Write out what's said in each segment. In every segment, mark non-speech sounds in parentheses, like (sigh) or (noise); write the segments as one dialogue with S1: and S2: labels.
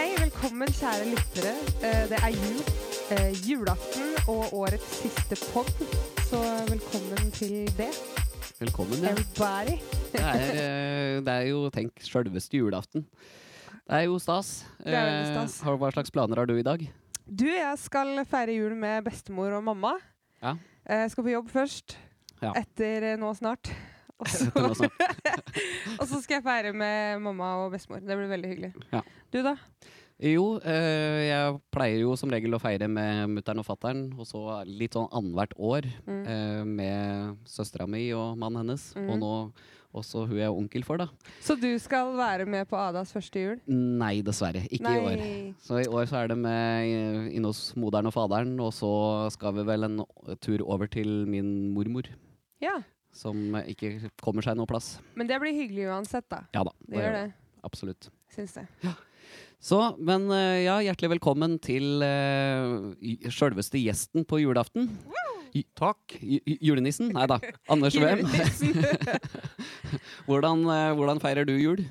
S1: Velkommen, kjære lyttere. Eh, Det er jul, eh, julaften og årets siste pod, så velkommen til det,
S2: Velkommen,
S1: (laughs)
S2: ja.
S1: everybody.
S2: Det er, eh, det er jo tenk sjølveste julaften. Det er jo stas.
S1: Det er veldig
S2: Eh,
S1: stas.
S2: har- Hva slags planer har du i dag?
S1: Du, (laughs) jeg skal feire jul med bestemor og mamma.
S2: Ja.
S1: Eh, Jeg skal på jobb først,
S2: Ja.
S1: etter eh, nå snart. Og så,
S2: Etter nå snart.
S1: og så skal jeg feire med mamma og bestemor. Det blir veldig hyggelig.
S2: Ja.
S1: Du da?
S2: Jo, eh, jeg pleier jo som regel å feire med mutter'n og fatter'n, og så litt sånn annethvert år
S1: Mm.
S2: eh, med søstera mi og mannen hennes, og nå også hun jeg er onkel for, da.
S1: Så du skal være med på Adas første jul?
S2: Nei, dessverre. Ikke i år.
S1: Nei.
S2: Så i år så er det med eh, inne hos moderen og faderen, og så skal vi vel en tur over til min mormor,
S1: Ja.
S2: som eh, ikke kommer seg noe plass.
S1: Men det blir hyggelig uansett, da.
S2: Ja da.
S1: Det gjør det.
S2: Absolutt.
S1: Syns det.
S2: Så, men eh, ja, hjertelig velkommen til uh, sjølveste gjesten på julaften. Takk. Julenissen? Nei da.
S1: (laughs)
S2: Anders Wem. Hvordan, eh, hvordan feirer du jul?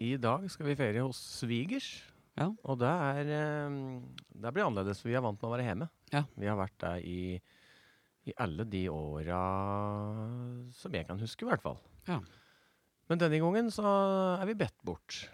S3: I dag skal vi feire hos svigers.
S2: Ja.
S3: Og det er eh, Det blir annerledes, for vi er vant med å være hjemme.
S2: Ja.
S3: Vi har vært der i, i alle de åra som jeg kan huske, i hvert fall.
S2: Ja.
S3: Men denne gangen så er vi bedt bort.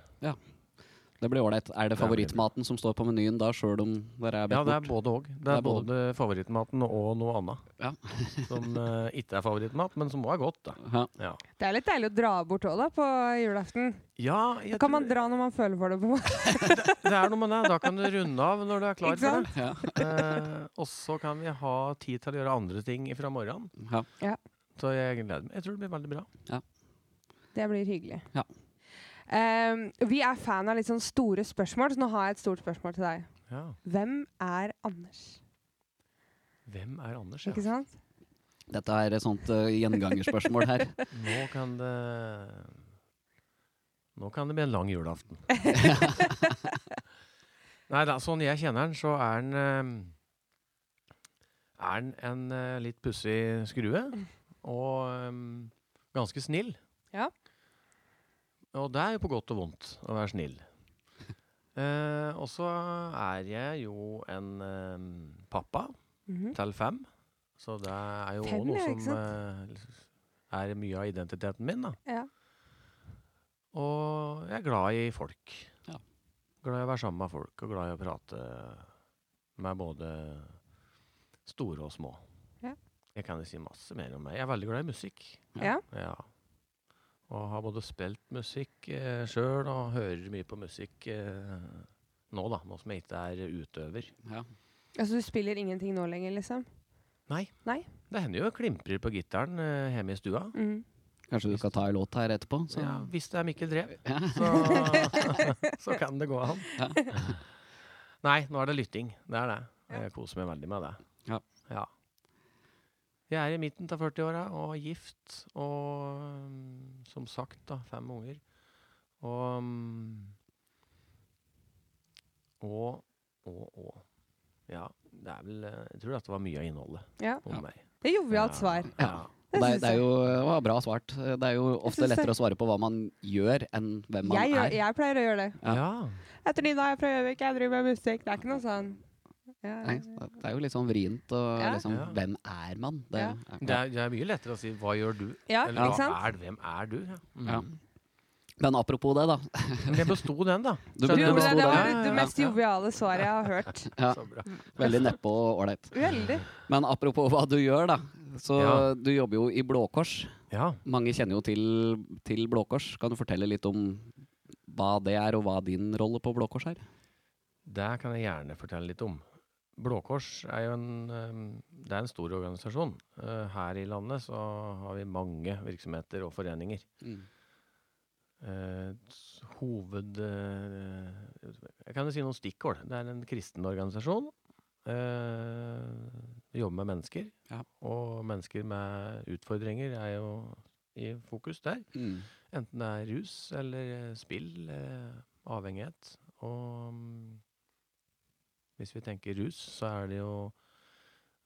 S2: Det blir ålreit. Er det
S3: Ja, det blir
S2: favorittmaten som står på menyen da, sjøl om dere er
S3: Ja,
S2: bedt
S3: det er
S2: bort?
S3: både òg. Det,
S2: er
S3: er
S2: både-
S3: både favorittmaten og noe annet.
S2: Ja.
S3: (laughs) som eh, ikke er favorittmat, men som òg er godt. Da.
S2: Ja,
S3: Ja.
S1: Det er litt deilig å dra bort òg, da, på julaften.
S3: ja, jeg
S1: Kan man
S3: tror-
S1: dra når man føler for det? på en måte?
S3: det er noe med det. Da kan du runde av når du er klar
S1: Ikke
S3: for det.
S1: sant?
S2: ja,
S3: Eh, og så kan vi ha tid til å gjøre andre ting fra morgenen.
S2: ja.
S3: Så jeg gleder meg. Jeg tror det blir veldig bra.
S1: Det blir hyggelig.
S2: Ja.
S1: Ehm, vi er fan av litt sånn store spørsmål, så nå har jeg et stort spørsmål til deg.
S3: Ja.
S1: Hvem er Anders?
S3: Hvem er Anders?
S1: Ikke sant?
S2: Dette er et sånt eh, gjengangerspørsmål her.
S3: (laughs) Nå kan det Nå kan det bli en lang
S1: (laughs)
S3: julaften. (laughs) Nei da, sånn jeg kjenner han, så er han eh, Er han en eh, litt pussig skrue. Og eh, ganske snill.
S1: Ja.
S3: Og det er jo på godt og vondt å være snill. Eh, og så er jeg jo en eh, pappa
S1: Mhm.
S3: til fem. Så det er jo
S1: Fem,
S3: også noe
S1: ja, ikke
S3: som eh, er mye av identiteten min, da.
S1: Ja.
S3: Og jeg er glad i folk.
S2: Ja.
S3: Glad i å være sammen med folk, og glad i å prate med både store og små.
S1: Ja.
S3: Jeg kan jo si masse mer om meg. Jeg er veldig glad i musikk.
S2: Ja.
S1: ja.
S3: Ja. Og har både spilt musikk eh, sjøl og hører mye på musikk eh, nå, da. Nå som jeg ikke er utøver.
S2: Ja.
S1: Altså du spiller ingenting nå lenger, liksom?
S3: Det hender jo jeg klimprer på gitaren eh, hjemme i stua.
S1: Mhm.
S2: Kanskje du skal ta en låt her etterpå? Så.
S3: Ja, hvis det er Mikkel Drev,
S2: Ja. (laughs)
S3: så, så kan det gå an.
S2: Ja.
S3: Nei, nå er det lytting. Det er det.
S1: Ja.
S3: Jeg koser meg veldig med det.
S2: Ja.
S3: Ja. Jeg er i midten av 40-åra og er gift og mm, som sagt da, fem unger. Og mm, og, og, og. Ja, det er vel eh, Jeg tror dette var mye av innholdet
S1: ja.
S3: om
S2: Ja.
S3: meg.
S1: Det er jovialt svar.
S3: Ja.
S2: Ja.
S1: Det
S2: Det er,
S1: syns
S2: det er
S1: jeg.
S2: jo det var bra svart. Det er jo
S1: syns
S2: ofte
S1: det.
S2: lettere å svare på hva man gjør, enn hvem man
S1: Jeg, gjør,
S2: er.
S1: jeg pleier å gjøre det.
S2: Ja.
S3: ja.
S1: Etter Nina, jeg prøver ikke, jeg driver med musikk. Det er ikke noe sånn ja.
S2: Nei, det er jo litt sånn vrient. Og
S1: Mm. Ja.
S2: liksom,
S3: Ja.
S2: Hvem er man? Det,
S1: Ja.
S3: Det, er, det er mye lettere å si 'hva gjør du?'
S1: ja,
S3: Eller
S1: ikke
S3: hva
S1: sant?
S3: er, hvem er du? Ja.
S2: Ja. Men apropos det, da.
S3: Men jeg besto den, da.
S2: Du
S1: Du,
S3: Skjønner
S2: besto
S1: det, det
S2: den.
S1: var
S2: Ja,
S1: det
S2: ja,
S1: mest joviale svaret jeg har hørt.
S2: Ja.
S3: Så bra.
S2: Veldig nedpå og ålreit.
S1: Veldig.
S2: Men apropos hva du gjør, da. Så
S3: Ja.
S2: du jobber jo i Blå Kors.
S3: Ja.
S2: Mange kjenner jo til, til Blå Kors. Kan du fortelle litt om hva det er, og hva din rolle på Blå Kors er?
S3: Det kan jeg gjerne fortelle litt om. Blå Kors er jo en, ehm, det er en stor organisasjon. Eh, Her i landet så har vi mange virksomheter og foreninger. Eh, s- Hoved... eh, Jeg kan jo si noen stikkord. Det er en kristen organisasjon. Eh, vi jobber med mennesker.
S2: Ja.
S3: Og mennesker med utfordringer er jo i fokus der.
S2: Mm.
S3: Enten det er rus eller eh, spill, eh, avhengighet. Og mm, hvis vi tenker rus, så er det jo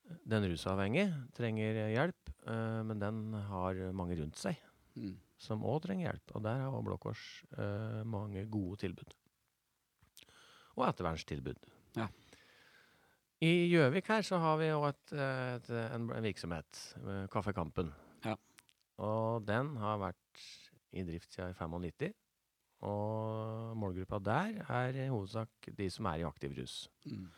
S3: eh, Den rusavhengige trenger eh, hjelp, eh, men den har mange rundt seg
S2: Mm.
S3: som òg trenger hjelp. Og der har Blå Kors eh, mange gode tilbud. og ettervernstilbud.
S2: Ja.
S3: I Gjøvik her så har vi jo et, eh, et, eh, en virksomhet, eh, Kaffe Kampen.
S2: Ja.
S3: Og den har vært i drift siden 95. Og målgruppa der er i hovedsak de som er i aktiv rus.
S2: Mm.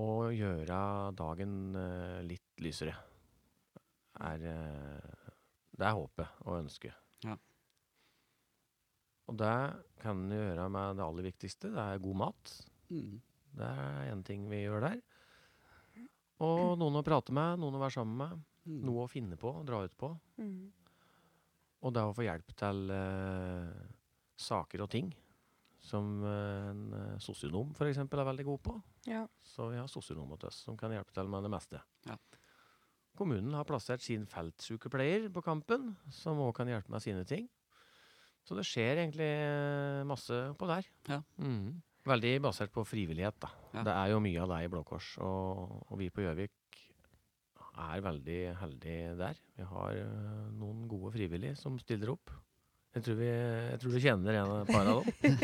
S3: Å gjøre dagen eh, litt lysere er eh, Det er håpet og ønsket.
S2: Ja.
S3: Og det kan du gjøre med det aller viktigste. Det er god mat.
S2: Mm.
S3: Det er én ting vi gjør der. Og noen å prate med, noen å være sammen med.
S2: Mm.
S3: Noe å finne på, dra ut på.
S1: Mm.
S3: Og det å få hjelp til eh, saker og ting. Som eh, en eh, sosionom f.eks. er veldig god på.
S1: Ja.
S3: Så vi har sosionomer til oss som kan hjelpe til med det meste.
S2: Ja.
S3: Kommunen har plassert sin feltsykepleier på kampen, som òg kan hjelpe med sine ting. Så det skjer egentlig eh, masse på der.
S2: Ja.
S3: Mhm. Veldig basert på frivillighet, da.
S2: Ja.
S3: Det er jo mye av det i Blå Kors, og, og vi på Gjøvik er veldig heldige der. Vi har eh, noen gode frivillige som stiller opp. Jeg tror, vi, jeg tror du kjenner en av et par av dem.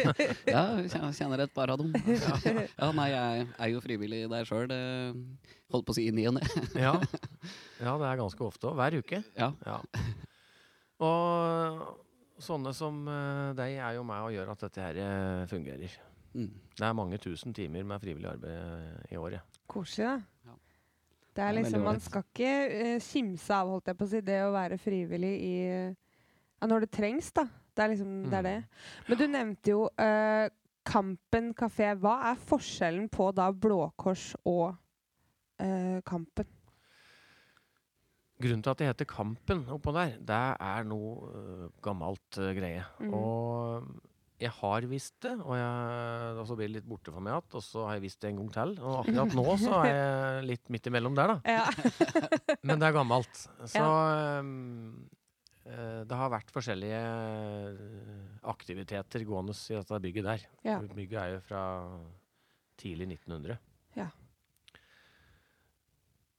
S2: Ja, jeg kjen- kjenner et par av
S3: (laughs)
S2: dem. Ja, ja nei, jeg er jo frivillig der sjøl. eh, Holdt på å si i ny og ne.
S3: Ja. ja, det er ganske ofte òg. Hver uke.
S2: Ja.
S3: Ja. Og sånne som eh, deg er jo med og gjør at dette her eh, fungerer.
S2: Mm.
S3: Det er mange tusen timer med frivillig arbeid i året.
S1: Koselig, da.
S2: Ja.
S1: Det er
S2: Det er
S1: liksom,
S2: veldig
S1: Man
S2: ålreit.
S1: skal ikke eh, kimse av, holdt jeg på å si, det å være frivillig i ja, Når det trengs, da. Det er liksom det. er det. Men du nevnte jo eh, Kampen kafé. Hva er forskjellen på da Blå Kors og eh, Kampen?
S3: Grunnen til at det heter Kampen oppå der, det er noe eh, gammelt eh, greie.
S1: Mhm.
S3: Og jeg har visst det, og, jeg, og så blir det litt borte for meg igjen. Og så har jeg visst det en gang til. Og akkurat nå så er jeg litt midt imellom der, da.
S1: Ja. (laughs)
S3: Men det er gammelt. Så um, eh, det har vært forskjellige eh, aktiviteter gående i dette bygget der.
S1: Ja.
S3: Bygget er jo fra tidlig 1900.
S1: Ja.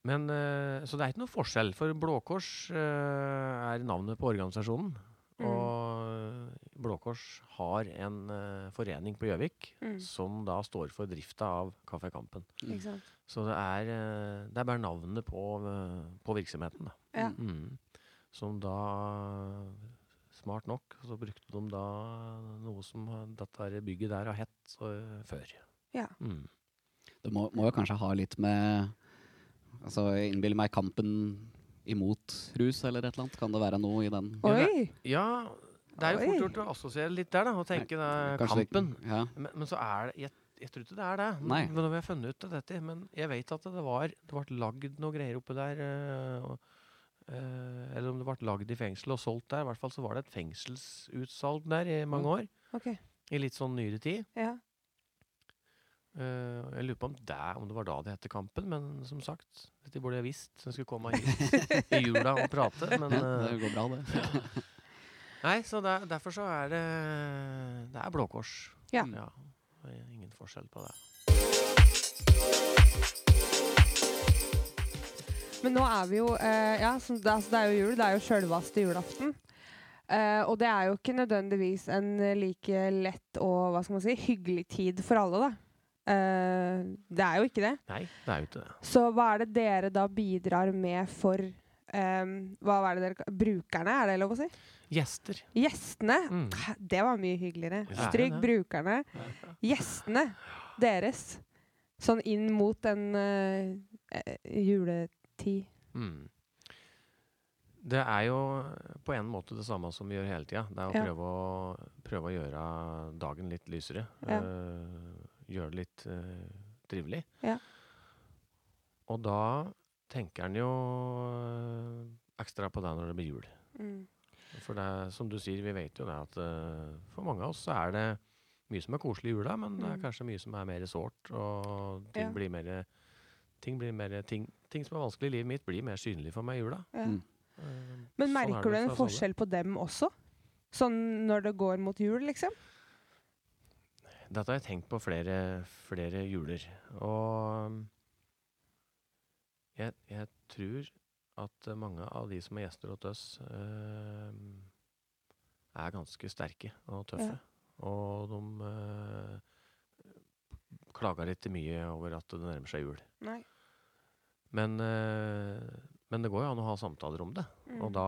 S3: Men, eh, så det er ikke noe forskjell, for Blå Kors eh, er navnet på organisasjonen.
S1: Mm.
S3: Og Blå Kors har en eh, forening på Gjøvik
S1: Mm.
S3: som da står for drifta av Kafé Kampen.
S1: Ikke sant?
S3: Så det er, eh, det er bare navnet på, eh, på virksomheten. Da.
S1: Ja.
S3: Mm. Som da Smart nok, så brukte de da noe som eh, dette her bygget der har hett eh, før.
S1: Ja.
S3: Mm.
S2: Det må, må jo kanskje ha litt med Altså, jeg innbiller meg kampen imot rus eller et eller annet. Kan det være noe i den?
S1: Oi!
S3: Ja, det er jo fort
S1: Oi.
S3: gjort å assosiere litt der, da, og tenke det,
S2: Kanskje det-
S3: Eh, kampen.
S2: Ja.
S3: Men, men så er det jeg, jeg tror ikke det er det.
S2: Nei.
S3: Men nå har jeg funnet ut av dette. Men jeg vet at det var Det ble lagd noe greier oppe der. eh, og, eh, eller om det ble lagd i fengsel og solgt der. I hvert fall så var det et fengselsutsalg der i
S2: Mm.
S3: mange år.
S1: Ok.
S3: I litt sånn nyere tid.
S1: Ja.
S3: Eh, jeg lurer på om det, om det var da det het Kampen, men som sagt Dette burde jeg visst. så Jeg skulle komme hit i (laughs) jula og prate, men
S2: ja,
S3: eh,
S2: det
S3: (laughs)
S2: går bra, det.
S3: Nei, så der, derfor så er det Det er Blå Kors.
S1: Ja.
S3: Det er Ingen forskjell på det.
S1: Men nå er vi jo eh, Ja, som, det, altså, det er jo jul. Det er jo sjølvaste julaften. Eh, og det er jo ikke nødvendigvis en eh, like lett og hva skal man si, hyggelig tid for alle, da. Eh, det er jo ikke det.
S3: Nei, det er jo ikke det.
S1: Så hva er det dere da bidrar med for eh, Hva er det dere ka- Brukerne, er det lov å si?
S3: Gjester.
S1: Gjestene.
S3: Mm.
S1: Hæ, Det var mye hyggeligere.
S3: Ja.
S1: Stryk
S3: Ja.
S1: brukerne. Gjestene deres. Sånn inn mot en eh, eh, juletid.
S3: Mm. Det er jo på en måte det samme som vi gjør hele tida. Det er å
S1: Ja.
S3: prøve, å prøve å gjøre dagen litt lysere.
S1: Ja.
S3: eh, gjøre det litt eh, trivelig.
S1: Ja.
S3: Og da tenker en jo eh, ekstra på det når det blir jul.
S1: Mm.
S3: For det, som du sier, vi vet jo det at eh, for mange av oss så er det mye som er koselig i jula, men det er
S1: Mm.
S3: kanskje mye som er mer sårt, og ting
S1: Ja.
S3: blir mer ting, blir mer- ting, ting som er vanskelig i livet mitt, blir mer synlig for meg i jula.
S1: Ja.
S2: Mm.
S3: Eh,
S1: Men
S3: sånn er
S1: merker
S3: det
S1: du en
S3: for oss
S1: forskjell
S3: alle.
S1: på dem også? Sånn når det går mot jul, liksom?
S3: Dette har jeg tenkt på flere, flere juler. Og um, jeg, jeg tror at eh, mange av de som er gjester hos oss, eh, er ganske sterke og tøffe.
S1: Ja.
S3: Og de eh, klaga litt mye over at det nærmer seg jul.
S1: Nei.
S3: Men, eh, men det går jo an å ha samtaler om det.
S1: Mm.
S3: Og da,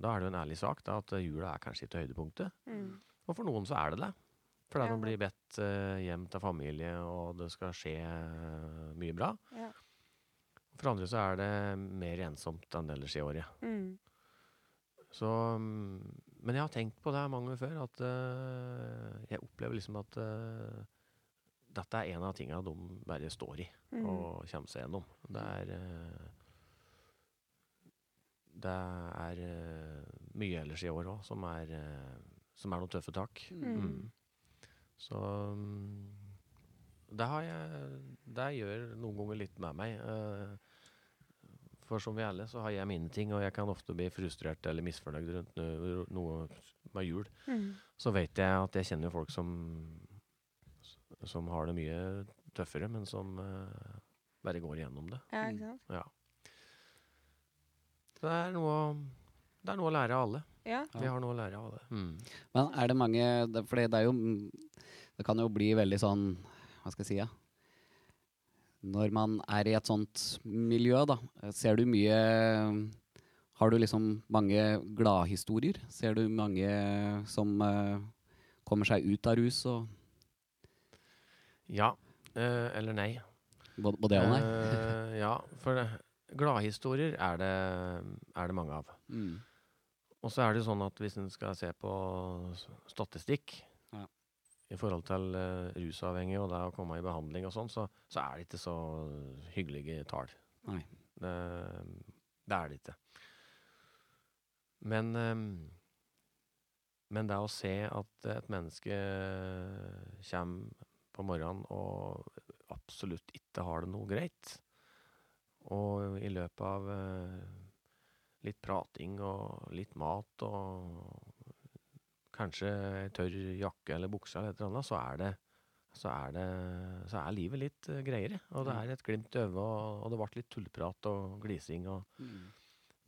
S3: da er det jo en ærlig sak da, at jula er kanskje ikke høydepunktet.
S1: Mm.
S3: Og for noen så er det det. For det er
S1: Ja,
S3: de blir bedt eh, hjem til familie, og det skal skje eh, mye bra.
S1: Ja.
S3: For andre så er det mer ensomt enn ellers i året.
S1: Mm.
S3: Så, mm, men jeg har tenkt på det her mange ganger før, at eh, jeg opplever liksom at eh, dette er en av tinga de bare står i
S1: Mm.
S3: og kommer seg gjennom. Det er eh, Det er eh, mye ellers i år òg som, er, eh, som er noen tøffe tak.
S1: Mm.
S3: Mm. Så mm, det har jeg Det gjør noen ganger litt med meg. eh, for som vi alle, så har jeg mine ting, og jeg kan ofte bli frustrert eller misfornøyd rundt no- noe med jul.
S1: Mm.
S3: Så vet jeg at jeg kjenner jo folk som Som har det mye tøffere, men som eh, bare går igjennom det.
S1: Ja, ikke sant?
S3: Ja. Så Det er noe å, det er noe å lære av alle.
S1: Ja.
S2: Ja.
S3: Vi har noe å lære av alle.
S2: Men er det mange det- Fordi det er jo Det kan jo bli veldig sånn Hva skal jeg si, ja? Når man er i et sånt miljø, da, ser du mye Har du liksom mange gladhistorier? Ser du mange som eh, kommer seg ut av rus og
S3: Ja. eh, eller nei.
S2: både, både ja og nei?
S3: Eh, ja, for det- gladhistorier er det, er det mange av.
S2: Mm.
S3: Og så er det jo sånn at hvis en skal se på s- statistikk
S2: Ja.
S3: i forhold til eh, rusavhengige og det å komme i behandling og sånn, så, så er det ikke så hyggelige tall.
S2: Nei.
S3: Det, det er det ikke. Men, eh, men det å se at et menneske kommer på morgenen og absolutt ikke har det noe greit, og i løpet av eh, litt prating og litt mat og kanskje ei tørr jakke eller bukse eller et eller annet, så er det så er, det, så er livet litt eh, greiere. Og det
S2: Mm.
S3: er et glimt i øyet, og, og det ble litt tullprat og glising. Og
S2: Mm.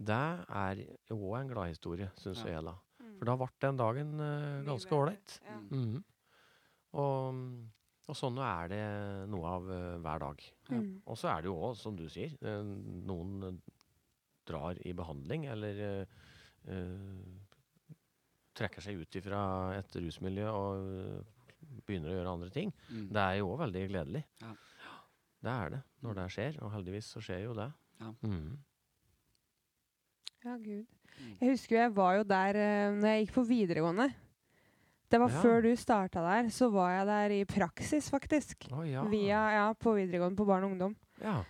S3: det er jo òg en gladhistorie, syns
S2: Ja.
S3: jeg, da.
S1: Mm.
S3: For da ble den dagen eh,
S1: Mye
S3: ganske
S1: bedre.
S3: ålreit.
S1: Ja.
S2: Mm.
S3: Mhm. Og, og sånn er det noe av eh, hver dag.
S2: Ja.
S1: Mm.
S3: Og så er det jo òg, som du sier, eh, noen eh, drar i behandling eller eh, eh, trekker seg ut ifra et rusmiljø og eh, begynner å gjøre andre ting.
S2: Mm.
S3: Det er jo òg veldig gledelig.
S2: Ja.
S3: Det er det, når det skjer. Og heldigvis så skjer jo det.
S2: Ja.
S3: Mhm.
S1: ja, gud.
S2: Mm.
S1: Jeg husker jo jeg var jo der eh, når jeg gikk på videregående. Det var
S3: Ja.
S1: før du starta der. Så var jeg der i praksis, faktisk.
S3: Å ja.
S1: Via, ja, på videregående på barn og ungdom.
S3: ja.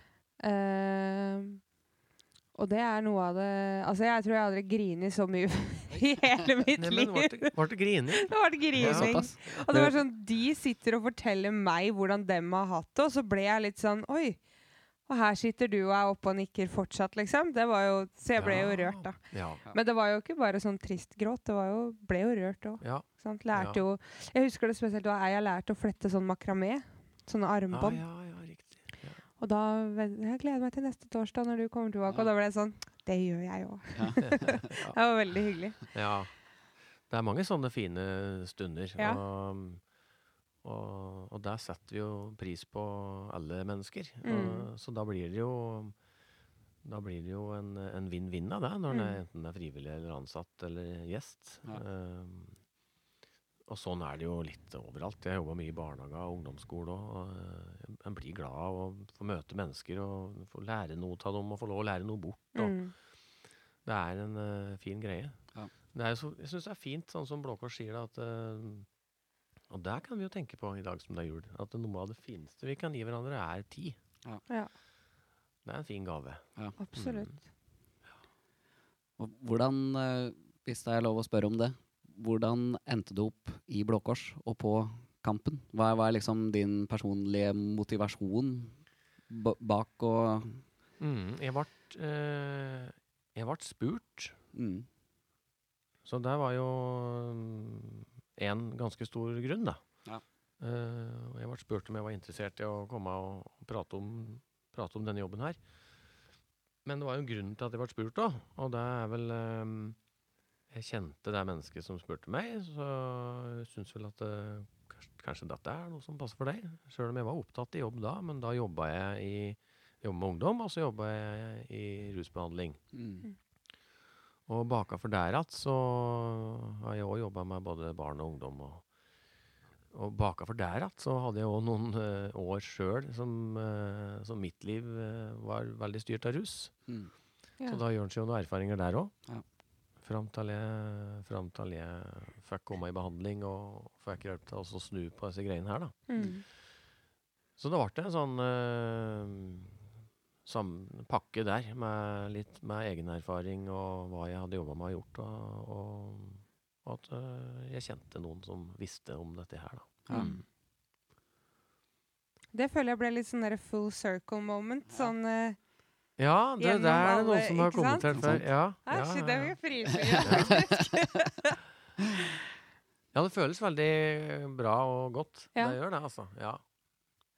S1: Eh, og det er noe av det Altså, jeg tror jeg aldri grinet så mye (laughs) i hele mitt
S3: Nei, men
S1: liv.
S3: ble det, ble det grining?
S1: Det var grining.
S2: Såpass.
S1: Og det var sånn, de sitter og forteller meg hvordan dem har hatt det, og så ble jeg litt sånn Oi! Og her sitter du og er oppe og nikker fortsatt, liksom. Det var jo, så jeg ble jo
S3: Ja.
S1: rørt, da.
S3: Ja.
S1: Men det var jo ikke bare sånn trist gråt, det var jo, ble jo rørt òg.
S3: ja.
S1: Lærte jo Jeg husker det spesielt da jeg lærte å flette sånn makramé. Sånne
S3: Ah,
S1: armbånd.
S3: ja, ja, riktig. Ja.
S1: Og da ven- Jeg gleder meg til neste torsdag når du kommer tilbake. Og da ble jeg sånn Det gjør jeg òg. (laughs) det var veldig hyggelig.
S3: (laughs) Ja. Det er mange sånne fine stunder.
S1: Ja.
S3: Og, og, og der setter vi jo pris på alle mennesker.
S1: Mm.
S3: Og, så da blir det jo da blir det jo en, en vinn-vinn av det, når det er,
S1: Mm.
S3: enten det er frivillig eller ansatt eller gjest.
S2: Ja.
S3: Um, og sånn er det jo litt overalt. Jeg jobber mye i barnehage og ungdomsskole òg. En blir glad av å få møte mennesker og få lære noe av dem og få lov å lære noe bort. Og,
S1: Mm.
S3: det er en eh, fin greie.
S2: Ja.
S3: Det er jo så, jeg syns det er fint, sånn som Blå Kors sier det, at eh, Og der kan vi jo tenke på i dag som det er jul, at noe av det fineste vi kan gi hverandre, er tid.
S2: Ja.
S1: Ja.
S3: Det er en fin gave.
S1: Absolutt.
S3: Mm.
S2: Og hvordan, eh, hvis det er lov å spørre om det, hvordan endte du opp i Blå Kors og på kampen? Hva er, hva er liksom din personlige motivasjon ba- bak å
S3: Mm, jeg ble Jeg ble spurt,
S2: mm,
S3: så det var jo én ganske stor grunn, da.
S2: Ja.
S3: Eh, og jeg ble spurt om jeg var interessert i å komme og og prate om, prate om denne jobben her. Men det var jo en grunn til at jeg ble spurt, da. Og det er vel eh, jeg kjente det mennesket som spurte meg, så jeg syns vel at eh, kanskje, kanskje dette er noe som passer for deg. Sjøl om jeg var opptatt i jobb da, men da jobba jeg i jobbet med ungdom, og så jobba jeg i rusbehandling.
S2: Mm.
S3: Og baka for der igjen så har jeg òg jobba med både barn og ungdom. Og, og baka for der igjen så hadde jeg òg noen eh, år sjøl som, eh, som mitt liv eh, var veldig styrt av rus.
S2: Mm.
S1: Ja.
S3: Så da gjør en seg jo noen erfaringer der òg.
S2: Ja.
S3: Fram til jeg, fram til jeg fikk komme i behandling og fikk hjelp til å snu på disse greiene her, da.
S1: Mm.
S3: Så det ble en sånn eh, sam pakke der, med litt med egen erfaring og hva jeg hadde jobba med og gjort. Og, og, og at eh, jeg kjente noen som visste om dette her, da.
S2: Ja.
S1: Mm. Det føler jeg ble litt sånn der full circle moment.
S2: Ja.
S1: Sånn eh,
S3: Ja, det,
S1: Gjennom
S3: det er det
S1: alle,
S3: noen som har
S1: ikke sant?
S3: kommentert
S2: Ikke sant?
S3: før. Ja,
S1: «Æ,
S3: ja,
S1: shit, det
S3: ja,
S1: blir
S3: (laughs) ja.
S1: frivelig.
S3: (laughs) ja, det føles veldig bra og godt.
S1: Ja.
S3: Det gjør det, altså. Ja,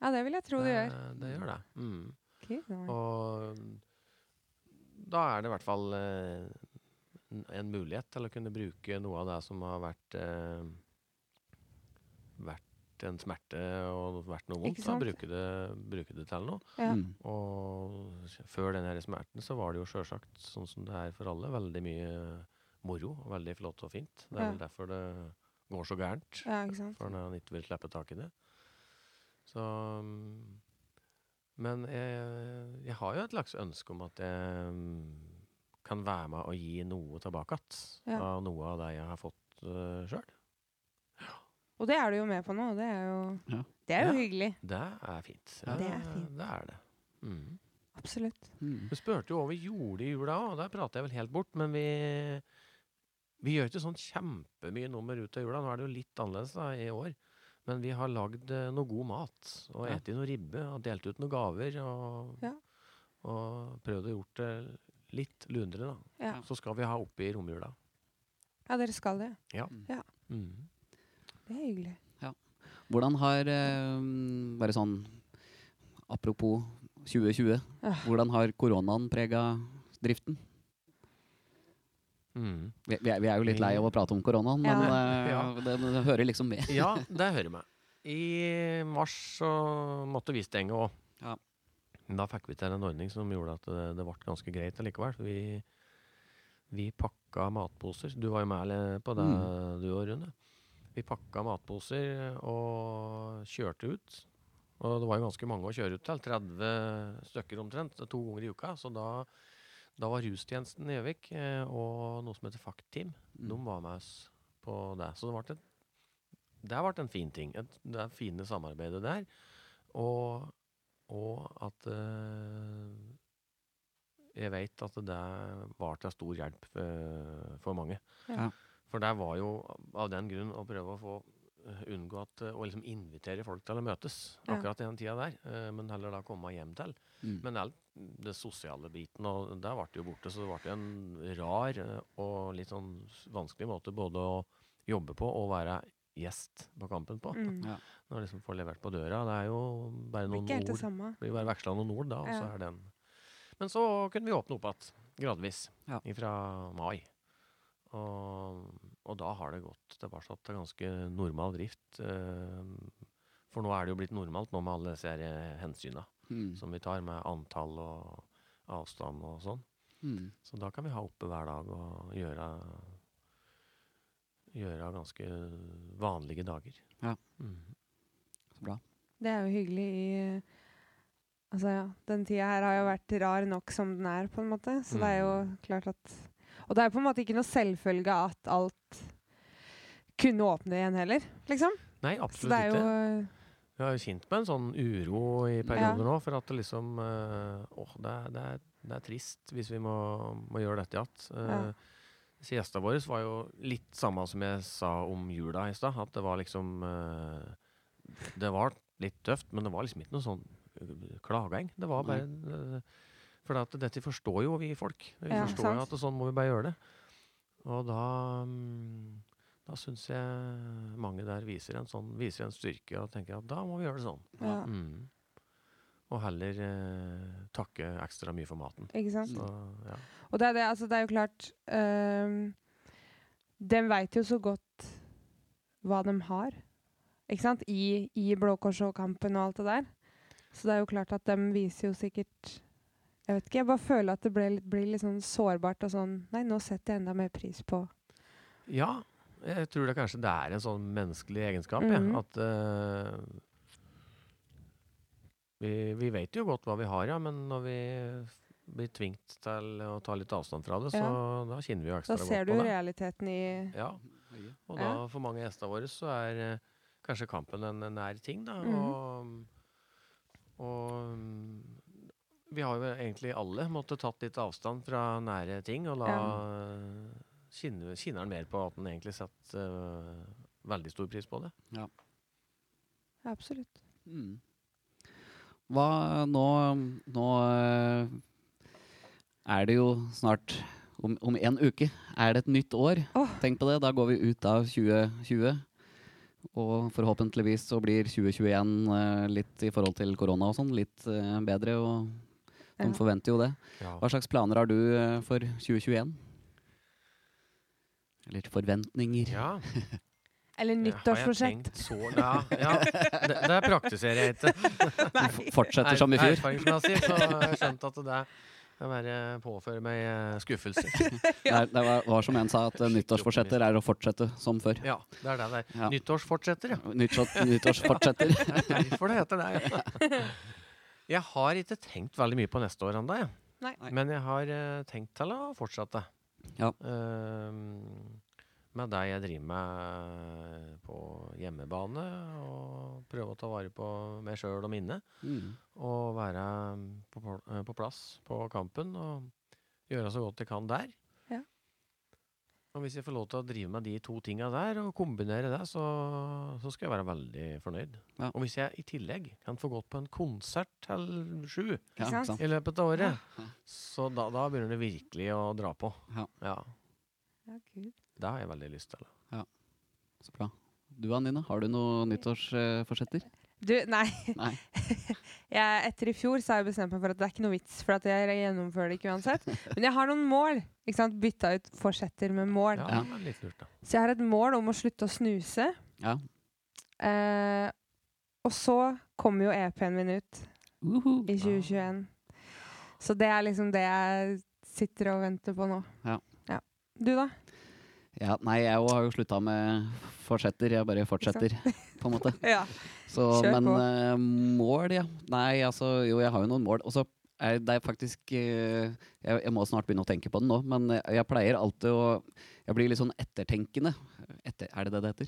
S1: Ja, det vil jeg tro du
S3: det,
S1: gjør.
S3: det gjør det. Mm.
S1: Ok, da.
S3: Og da er det i hvert fall eh, n- en mulighet til å kunne bruke noe av det som har vært eh, vært en smerte og vært noe vondt.
S1: Ikke
S3: Da
S1: sant?
S3: bruke det, bruke det til noe.
S1: Ja.
S2: Mm.
S3: Og s- før den her smerten så var det jo sjølsagt, sånn som det er for alle, veldig mye moro. og Veldig flott og fint. Det er
S1: Ja.
S3: vel derfor det går så gærent.
S1: ja, ikke sant.
S3: For når han ikke vil slippe tak i det. Så mm, Men jeg, jeg har jo et slags ønske om at jeg mm, kan være med og gi noe tilbake igjen
S1: Ja.
S3: av noe av det jeg har fått uh, sjøl.
S1: Og det er du jo med på nå. Det er jo,
S2: Ja.
S1: det er jo
S3: Ja.
S1: hyggelig.
S3: Det er fint. Eh,
S2: Ja.
S1: Det er fint.
S3: Det er det. Mm.
S1: Absolutt.
S2: Mm.
S3: Du spurte jo hva vi gjorde i jula òg. Der prater jeg vel helt bort, men vi vi gjør ikke sånn kjempemye nummer ut av jula. Nå er det jo litt annerledes da, i år. Men vi har lagd eh, noe god mat, og
S2: Ja.
S3: spist noe ribbe, og delt ut noen gaver. Og,
S1: Ja.
S3: og prøvd å gjort det litt lunere, da.
S1: Ja.
S3: Så skal vi ha oppi romjula.
S1: ja, dere skal det.
S3: Mm.
S1: Det er hyggelig.
S2: Hvordan har eh, Bare sånn apropos 2020.
S1: Ah.
S2: Hvordan har koronaen prega driften?
S3: Mm.
S2: Vi, vi, er, vi er jo litt lei av å prate om koronaen, men eh, (laughs)
S3: Ja.
S2: det, det hører liksom med.
S3: (laughs) Ja, det hører meg. I mars så måtte vi stenge òg.
S2: Ja.
S3: Men Da fikk vi til en ordning som gjorde at det, det ble ganske greit allikevel. Vi, vi pakka matposer. Du var jo med eller, på det, du og Rune. Vi pakka matposer og kjørte ut. Og det var jo ganske mange å kjøre ut til. 30 stykker omtrent, to ganger i uka. Så da, da var rustjenesten i Gjøvik eh, og noe som heter FACT-team.
S2: Mm.
S3: De var med oss på det. Så det ble, et, det ble en fin ting. Et, det er fine samarbeidet der. Og, og at eh, Jeg vet at det var til stor hjelp eh, for mange.
S1: Ja.
S2: Ja.
S3: For det var jo av den grunn å prøve å få eh, unngå at, eh, å liksom invitere folk til å møtes
S1: Ja.
S3: akkurat i den tida der, eh, men heller da komme hjem til.
S2: Mm.
S3: Men alt det sosiale biten, og der ble det jo borte, så det ble en rar eh, og litt sånn s- vanskelig måte både å jobbe på og være gjest på kampen på.
S1: Mm.
S2: Ja.
S3: Når du liksom får levert på døra, det er jo bare
S1: Det er
S3: noen
S1: ikke helt det
S3: ord.
S1: samme.
S3: Det blir bare veksla noen ord da, og så
S1: Ja.
S3: er den Men så kunne vi åpne opp igjen, gradvis,
S2: Ja.
S3: fra mai. Og, og da har det gått tilbake til ganske normal drift. eh, For nå er det jo blitt normalt, nå med alle disse her, eh, hensyna
S2: Mm.
S3: som vi tar, med antall og avstand og sånn.
S2: Mm.
S3: Så da kan vi ha oppe hver dag og gjøre, gjøre ganske vanlige dager.
S2: Ja.
S3: Mm.
S2: Så bra.
S1: Det er jo hyggelig i Altså, ja. Den tida her har jo vært rar nok som den er, på en måte. Så det er jo
S3: Mm.
S1: klart at Og det er på en måte ikke noe selvfølge at alt kunne åpne igjen heller, liksom.
S3: Nei,
S1: Så det
S3: absolutt
S1: er
S3: ikke.
S1: jo
S3: Vi har jo kjent på en sånn uro i perioder nå, for at det liksom eh, Åh, det, er- det, er- det er trist hvis vi må, må gjøre dette igjen.
S1: Ja.
S3: Uh, Siesta vår var jo litt samme som jeg sa om jula i stad, at det var liksom eh, Det var litt tøft, men det var liksom ikke noe sånn eh, klaging. Det var bare eh, For at dette forstår jo vi folk. Vi
S1: Ja,
S3: forstår
S1: sant.
S3: jo at det, sånn må vi bare gjøre det. Og da mm, da syns jeg mange der viser en, sånn, viser en styrke og tenker at da må vi gjøre det sånn.
S1: ja,
S3: Mm. Og heller eh, takke ekstra mye for maten.
S1: Ikke sant?
S3: Så, ja.
S1: Og det er, det, altså, det er jo klart øhm, De veit jo så godt hva de har, ikke sant? I, i Blå Kors og kampen og alt det der. Så det er jo klart at de viser jo sikkert Jeg vet ikke, jeg bare føler at det ble, litt- blir litt sånn sårbart og sånn Nei, nå setter jeg enda mer pris på
S3: Ja, jeg tror det kanskje det er en sånn menneskelig egenskap,
S1: Mhm.
S3: jeg. At eh, vi, vi vet jo godt hva vi har, ja, men når vi blir tvingt til å ta litt avstand fra det, så da kjenner vi jo
S1: Da
S3: ekstra
S1: ser
S3: godt
S1: du
S3: på
S1: jo
S3: det.
S1: realiteten i
S3: Ja, og da
S1: Ja.
S3: for mange av gjestene våre så er eh, kanskje kampen en en nær ting, da.
S1: Mhm.
S3: Og, og mm, vi har jo egentlig alle måttet tatt litt avstand fra nære ting, og la skinne, skinner den mer på at den egentlig setter eh, veldig stor pris på det.
S1: Absolutt.
S2: Mm. Hva nå Nå eh, er det jo snart om, om en uke er det et nytt år.
S1: Åh.
S2: Tenk på det. Da går vi ut av 2020. Og forhåpentligvis så blir 2021 eh, litt i forhold til korona og sånn litt eh, bedre. Og de
S1: Ja.
S2: forventer jo det.
S3: Ja.
S2: Hva slags planer har du eh, for 2021? Eller
S1: (laughs)
S2: forventninger?
S1: Eller nyttårsforsett.
S3: Har jeg tenkt så Ja,
S1: (laughs)
S3: ja. Det, det praktiserer jeg ikke.
S2: F- Fortsetter som i fjor?
S3: Erfaringsmessig så har jeg skjønt at det kan være påføre meg eh, skuffelser.
S2: Nei, Det var, var som en sa, at eh, nyttårsforsetter er å fortsette som før.
S3: Ja, det er det det er.
S2: Ja.
S3: Nyttårsfortsetter, ja.
S2: Nyttårs, nyttårsfortsetter.
S3: Det er derfor det heter det. ja. Jeg har ikke tenkt veldig mye på neste år ennå, jeg.
S1: Nei.
S2: Nei.
S3: men jeg har eh, tenkt til å fortsette.
S2: Ja.
S3: Ehm, med det jeg driver med på hjemmebane, og prøve å ta vare på meg sjøl og minnet.
S2: Mm.
S3: Og være mm, på, pl- eh, på plass på kampen og gjøre så godt jeg kan der.
S1: Ja.
S3: Og hvis jeg får lov til å drive med de to tinga der, og kombinere det, så, så skal jeg være veldig fornøyd.
S2: Ja.
S3: Og hvis jeg i tillegg kan få gått på en konsert til sju
S1: sant?
S2: Ja, ikke sant?
S3: i løpet av året,
S2: Ja.
S3: så da, da begynner det virkelig å dra på.
S2: Ja.
S1: Ja, Gud.
S3: Det har jeg veldig lyst til.
S2: Så bra. Du Anine, har du noen nyttårsforsetter?
S1: Du, nei.
S2: Nei.
S1: Jeg, etter i fjor så har jeg bestemt meg for at det er ikke noe vits, for at jeg gjennomfører det ikke uansett. Men jeg har noen mål. ikke sant? Bytta ut forsetter med mål.
S3: Ja,
S2: Ja.
S3: det er litt lurt, da.
S1: Så jeg har et mål om å slutte å snuse.
S2: Ja.
S1: Eh, og så kommer jo EP-en min ut
S2: Uhu.
S1: i 2021. Så det er liksom det jeg sitter og venter på nå.
S2: Ja.
S1: Du, da?
S2: ja, nei, jeg òg har jo slutta med forsetter. Jeg bare fortsetter, på en måte.
S1: Ja.
S2: Så,
S1: Kjør
S2: men
S1: på.
S2: eh, mål, ja. Nei, altså Jo, jeg har jo noen mål. Og så er det er faktisk eh, jeg, jeg må snart begynne å tenke på det nå, men eh, jeg pleier alltid å Jeg blir litt sånn ettertenkende. Etter, er det det det heter?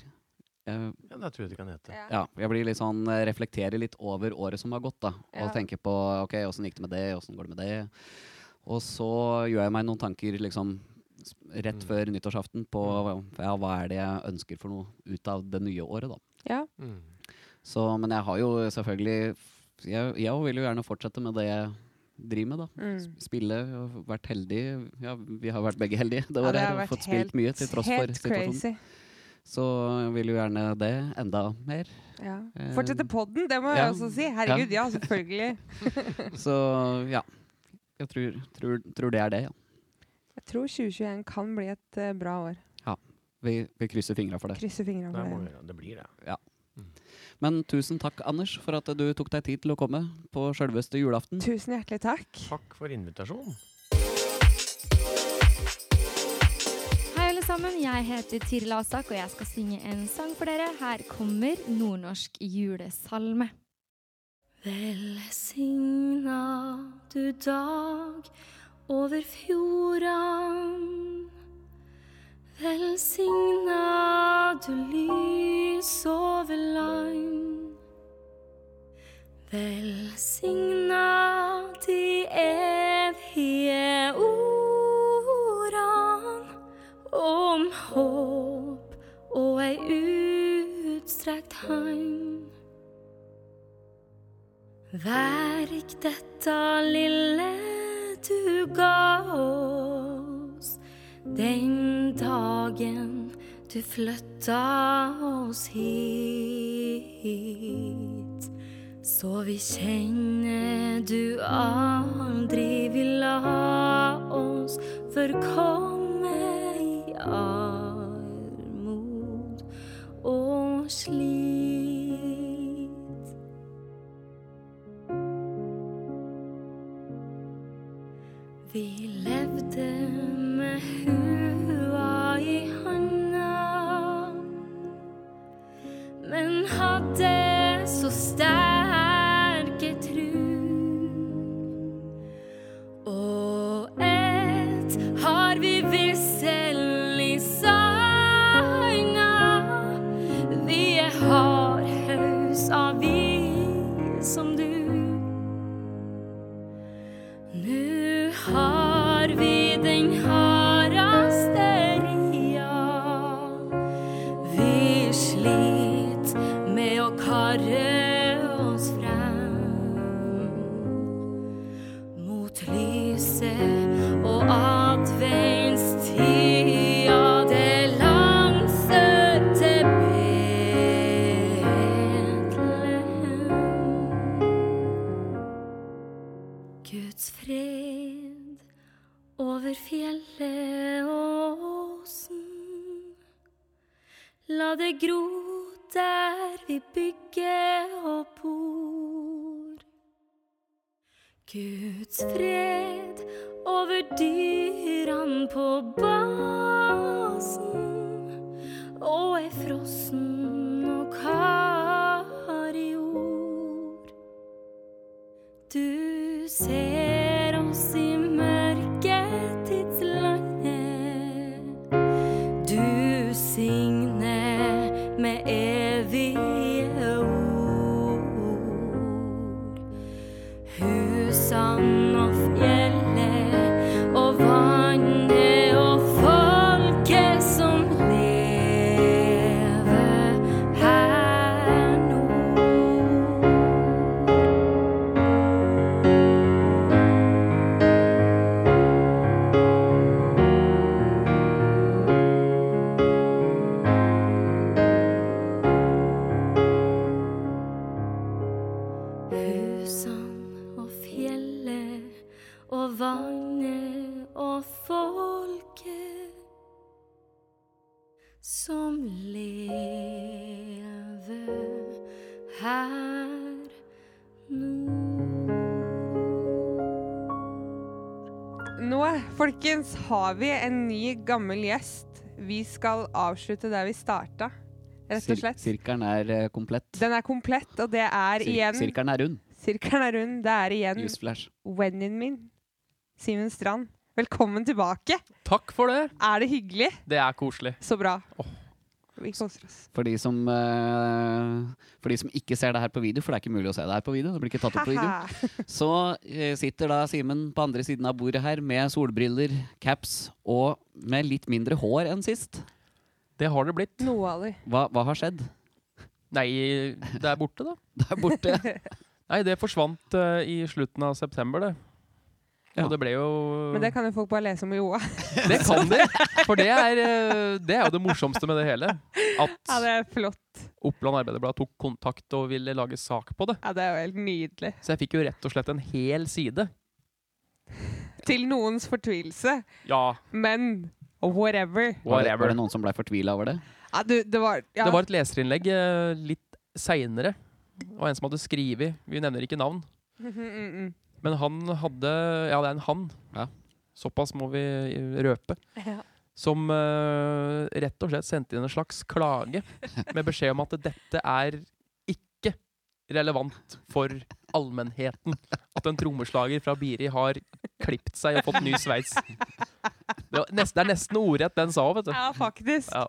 S2: Eh,
S3: Ja, det tror jeg det kan hete.
S2: ja. Jeg blir litt sånn eh, reflekterer litt over året som har gått, da. Og
S1: Ja.
S2: tenker på OK, åssen gikk det med det, åssen går det med det? Og så gjør jeg meg noen tanker liksom s- rett
S3: Mm.
S2: før nyttårsaften på
S3: Mm.
S2: ja, hva er det jeg ønsker for noe ut av det nye året, da.
S1: Ja.
S3: Mm.
S2: Så, men jeg har jo selvfølgelig Jeg, jeg vil jo gjerne fortsette med det jeg driver med, da.
S1: Mm.
S2: Spille, og vært heldig. Ja, vi har vært begge heldige det
S1: Ja,
S2: året.
S1: det
S2: her,
S1: har
S2: og
S1: vært
S2: fått spilt mye til tross for
S1: Helt
S2: situasjonen.
S1: crazy.
S2: Så jeg vil jo gjerne det enda mer.
S1: Ja.
S2: Eh,
S1: Fortsette podden, det må jeg
S2: ja.
S1: også si. Herregud,
S2: (laughs)
S1: ja, selvfølgelig.
S2: Så ja. Jeg tror, tror, tror det er det, ja.
S1: Jeg tror 2021 kan bli et eh, bra år.
S2: Vi, vi krysser fingra for det.
S1: Krysser fingrene
S3: Det, må
S1: for
S3: vi
S1: det.
S3: gjøre. det blir det.
S2: Men tusen takk, Anders, for at du tok deg tid til å komme på sjølveste julaften.
S1: Tusen hjertelig takk.
S3: Takk for invitasjonen.
S4: Hei alle sammen, jeg heter Tiril Asak, og jeg skal synge en sang for dere. Her kommer nordnorsk julesalme.
S5: Velsigna du dag over fjordan. Velsigna du lys over land. Velsigna de evige ordan om håp og ei utstrekt hand. Vær ikk dette lille du ga oss den dagen du flytta oss hit. Så vi kjenner du aldri vil la oss forkomme i arv. Vi levde med hua i handa, men hadde så sterke tru. Og ett har vi vissel i sanga. Vi er hardhaus av vi som du. Nu har vi den hardaste ria. Vi slit med å karre oss frem mot lyset og adventstida. Det langsøkte Betlehem. Guds fred over fjellet og åsen. La det gro der vi bygger og bor. Guds fred over dyran på basen. Og ei frossen og kar i ord. Du ser oss i mørketidslandet. Du signer med evige ord. Husan og fjellet og vannet og folket som lever her nå. Husan og fjellet og vannet og folket som lever her nå.
S1: Nå, folkens, har vi en ny, gammel gjest. Vi skal avslutte der vi starta, rett og
S2: Sir-
S1: slett.
S2: Sirkelen er eh, komplett.
S1: Den er komplett, og det er
S2: Sir-
S1: igjen
S2: Sirkelen er rund.
S1: Sirkelen er rund. Det er igjen
S2: Newsflash.
S1: wennen min, Simen Strand. Velkommen tilbake.
S6: Takk for det.
S1: Er det hyggelig?
S6: Det er koselig.
S1: Så bra.
S6: Åh.
S1: Vi koser oss.
S2: For de, som, eh, for de som ikke ser det her på video, for det er ikke mulig å se det her på video, det blir ikke tatt opp på video,
S1: Haha.
S2: så eh, sitter da Simen på andre siden av bordet her med solbriller, caps og med litt mindre hår enn sist.
S6: Det har det blitt.
S1: Noe av det.
S2: Hva, hva har skjedd?
S6: Nei, det er borte, da.
S2: Der
S1: (laughs)
S2: borte.
S6: Nei, det forsvant eh, i slutten av september, det.
S2: Ja.
S6: Og det ble jo
S1: Men det kan jo folk bare lese om i OA.
S6: Det kan de! For det er, eh, det er jo det morsomste med det hele. At
S1: Ja, det er flott.
S6: Oppland Arbeiderblad tok kontakt og ville lage sak på det.
S1: Ja, det er jo helt nydelig.
S6: Så jeg fikk jo rett og slett en hel side.
S1: Til noens fortvilelse,
S6: Ja,
S1: men whatever.
S2: Var det, var
S6: whatever.
S2: det noen som ble fortvila over det?
S1: Ja, du, det var ja.
S6: Det var et leserinnlegg eh, litt seinere. Og en som hadde skrevet Vi nevner ikke navn.
S1: Mhm, (laughs) mm, mm.
S6: Men han hadde Ja, det er en han.
S2: Ja.
S6: Såpass må vi røpe.
S1: Ja.
S6: Som eh, rett og slett sendte inn en slags klage med beskjed om at dette er ikke relevant for allmennheten. At en trommeslager fra Biri har klipt seg og fått ny sveis. Det, var nesten, det er nesten ordrett den sa, vet du.
S1: ja, faktisk.
S6: Ja.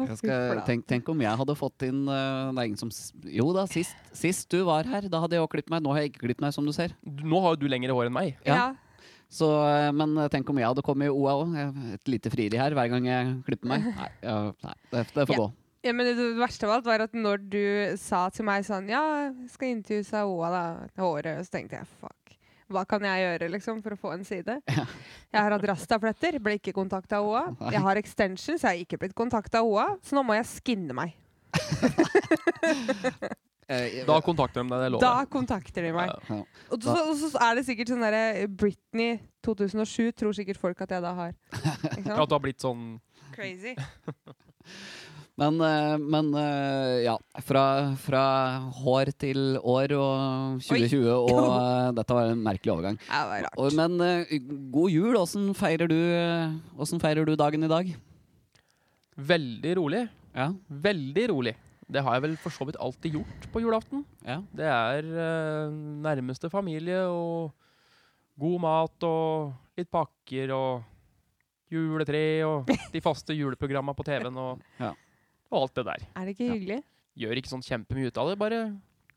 S1: Å,
S2: Jeg
S1: fy
S2: skal,
S1: flate.
S2: tenk, tenk om jeg hadde fått inn eh, det er ingen som, s- Jo da, sist, sist du var her, da hadde jeg også klippet meg. Nå har jeg ikke klippet meg, som du ser.
S6: Du- Nå har jo du lengre hår enn meg.
S1: ja.
S2: ja. Så, eh, men tenk om jeg hadde kommet i OA òg. Et lite frieri her hver gang jeg klipper meg. Nei, ja, nei det, det får
S1: Ja.
S2: gå.
S1: ja, men det verste av alt var at når du sa til meg sånn Ja, jeg skal intervjues av OA, da. Håret. Så tenkte jeg fuck. Hva kan jeg gjøre liksom, for å få en side?
S2: (laughs)
S1: Jeg har hatt rastafletter, ble ikke kontakta av OA.
S2: Nei.
S1: Jeg har extensions, jeg har ikke blitt kontakta av OA. Så nå må jeg skinne meg.
S2: Eh,
S6: Da kontakter de deg, det
S1: Da
S6: lover jeg.
S1: kontakter de meg.
S2: Ja.
S1: Og så, og så er det sikkert sånn derre Britney 2007
S2: (laughs)
S1: tror sikkert folk at jeg da har. Ikke
S6: Ja,
S1: sant?
S6: At du har blitt sånn
S1: Crazy.
S2: Men, eh, men eh, ja, fra, fra hår til år og 2020, og
S6: (laughs)
S2: eh, dette var en merkelig overgang.
S1: Det var rart.
S2: Og, men eh, god jul, åssen feirer, du, eh, hvordan feirer du dagen i dag?
S6: Veldig rolig.
S2: Ja,
S6: Veldig rolig. Det har jeg vel for så vidt alltid gjort på julaften.
S2: ja.
S6: Det er eh, nærmeste familie og god mat og litt pakker og juletre og de faste juleprogramma på TV-en og,
S2: Ja.
S6: og alt det der.
S1: Er det ikke
S2: Ja.
S1: hyggelig?
S6: Gjør ikke sånn kjempemye ut av det, bare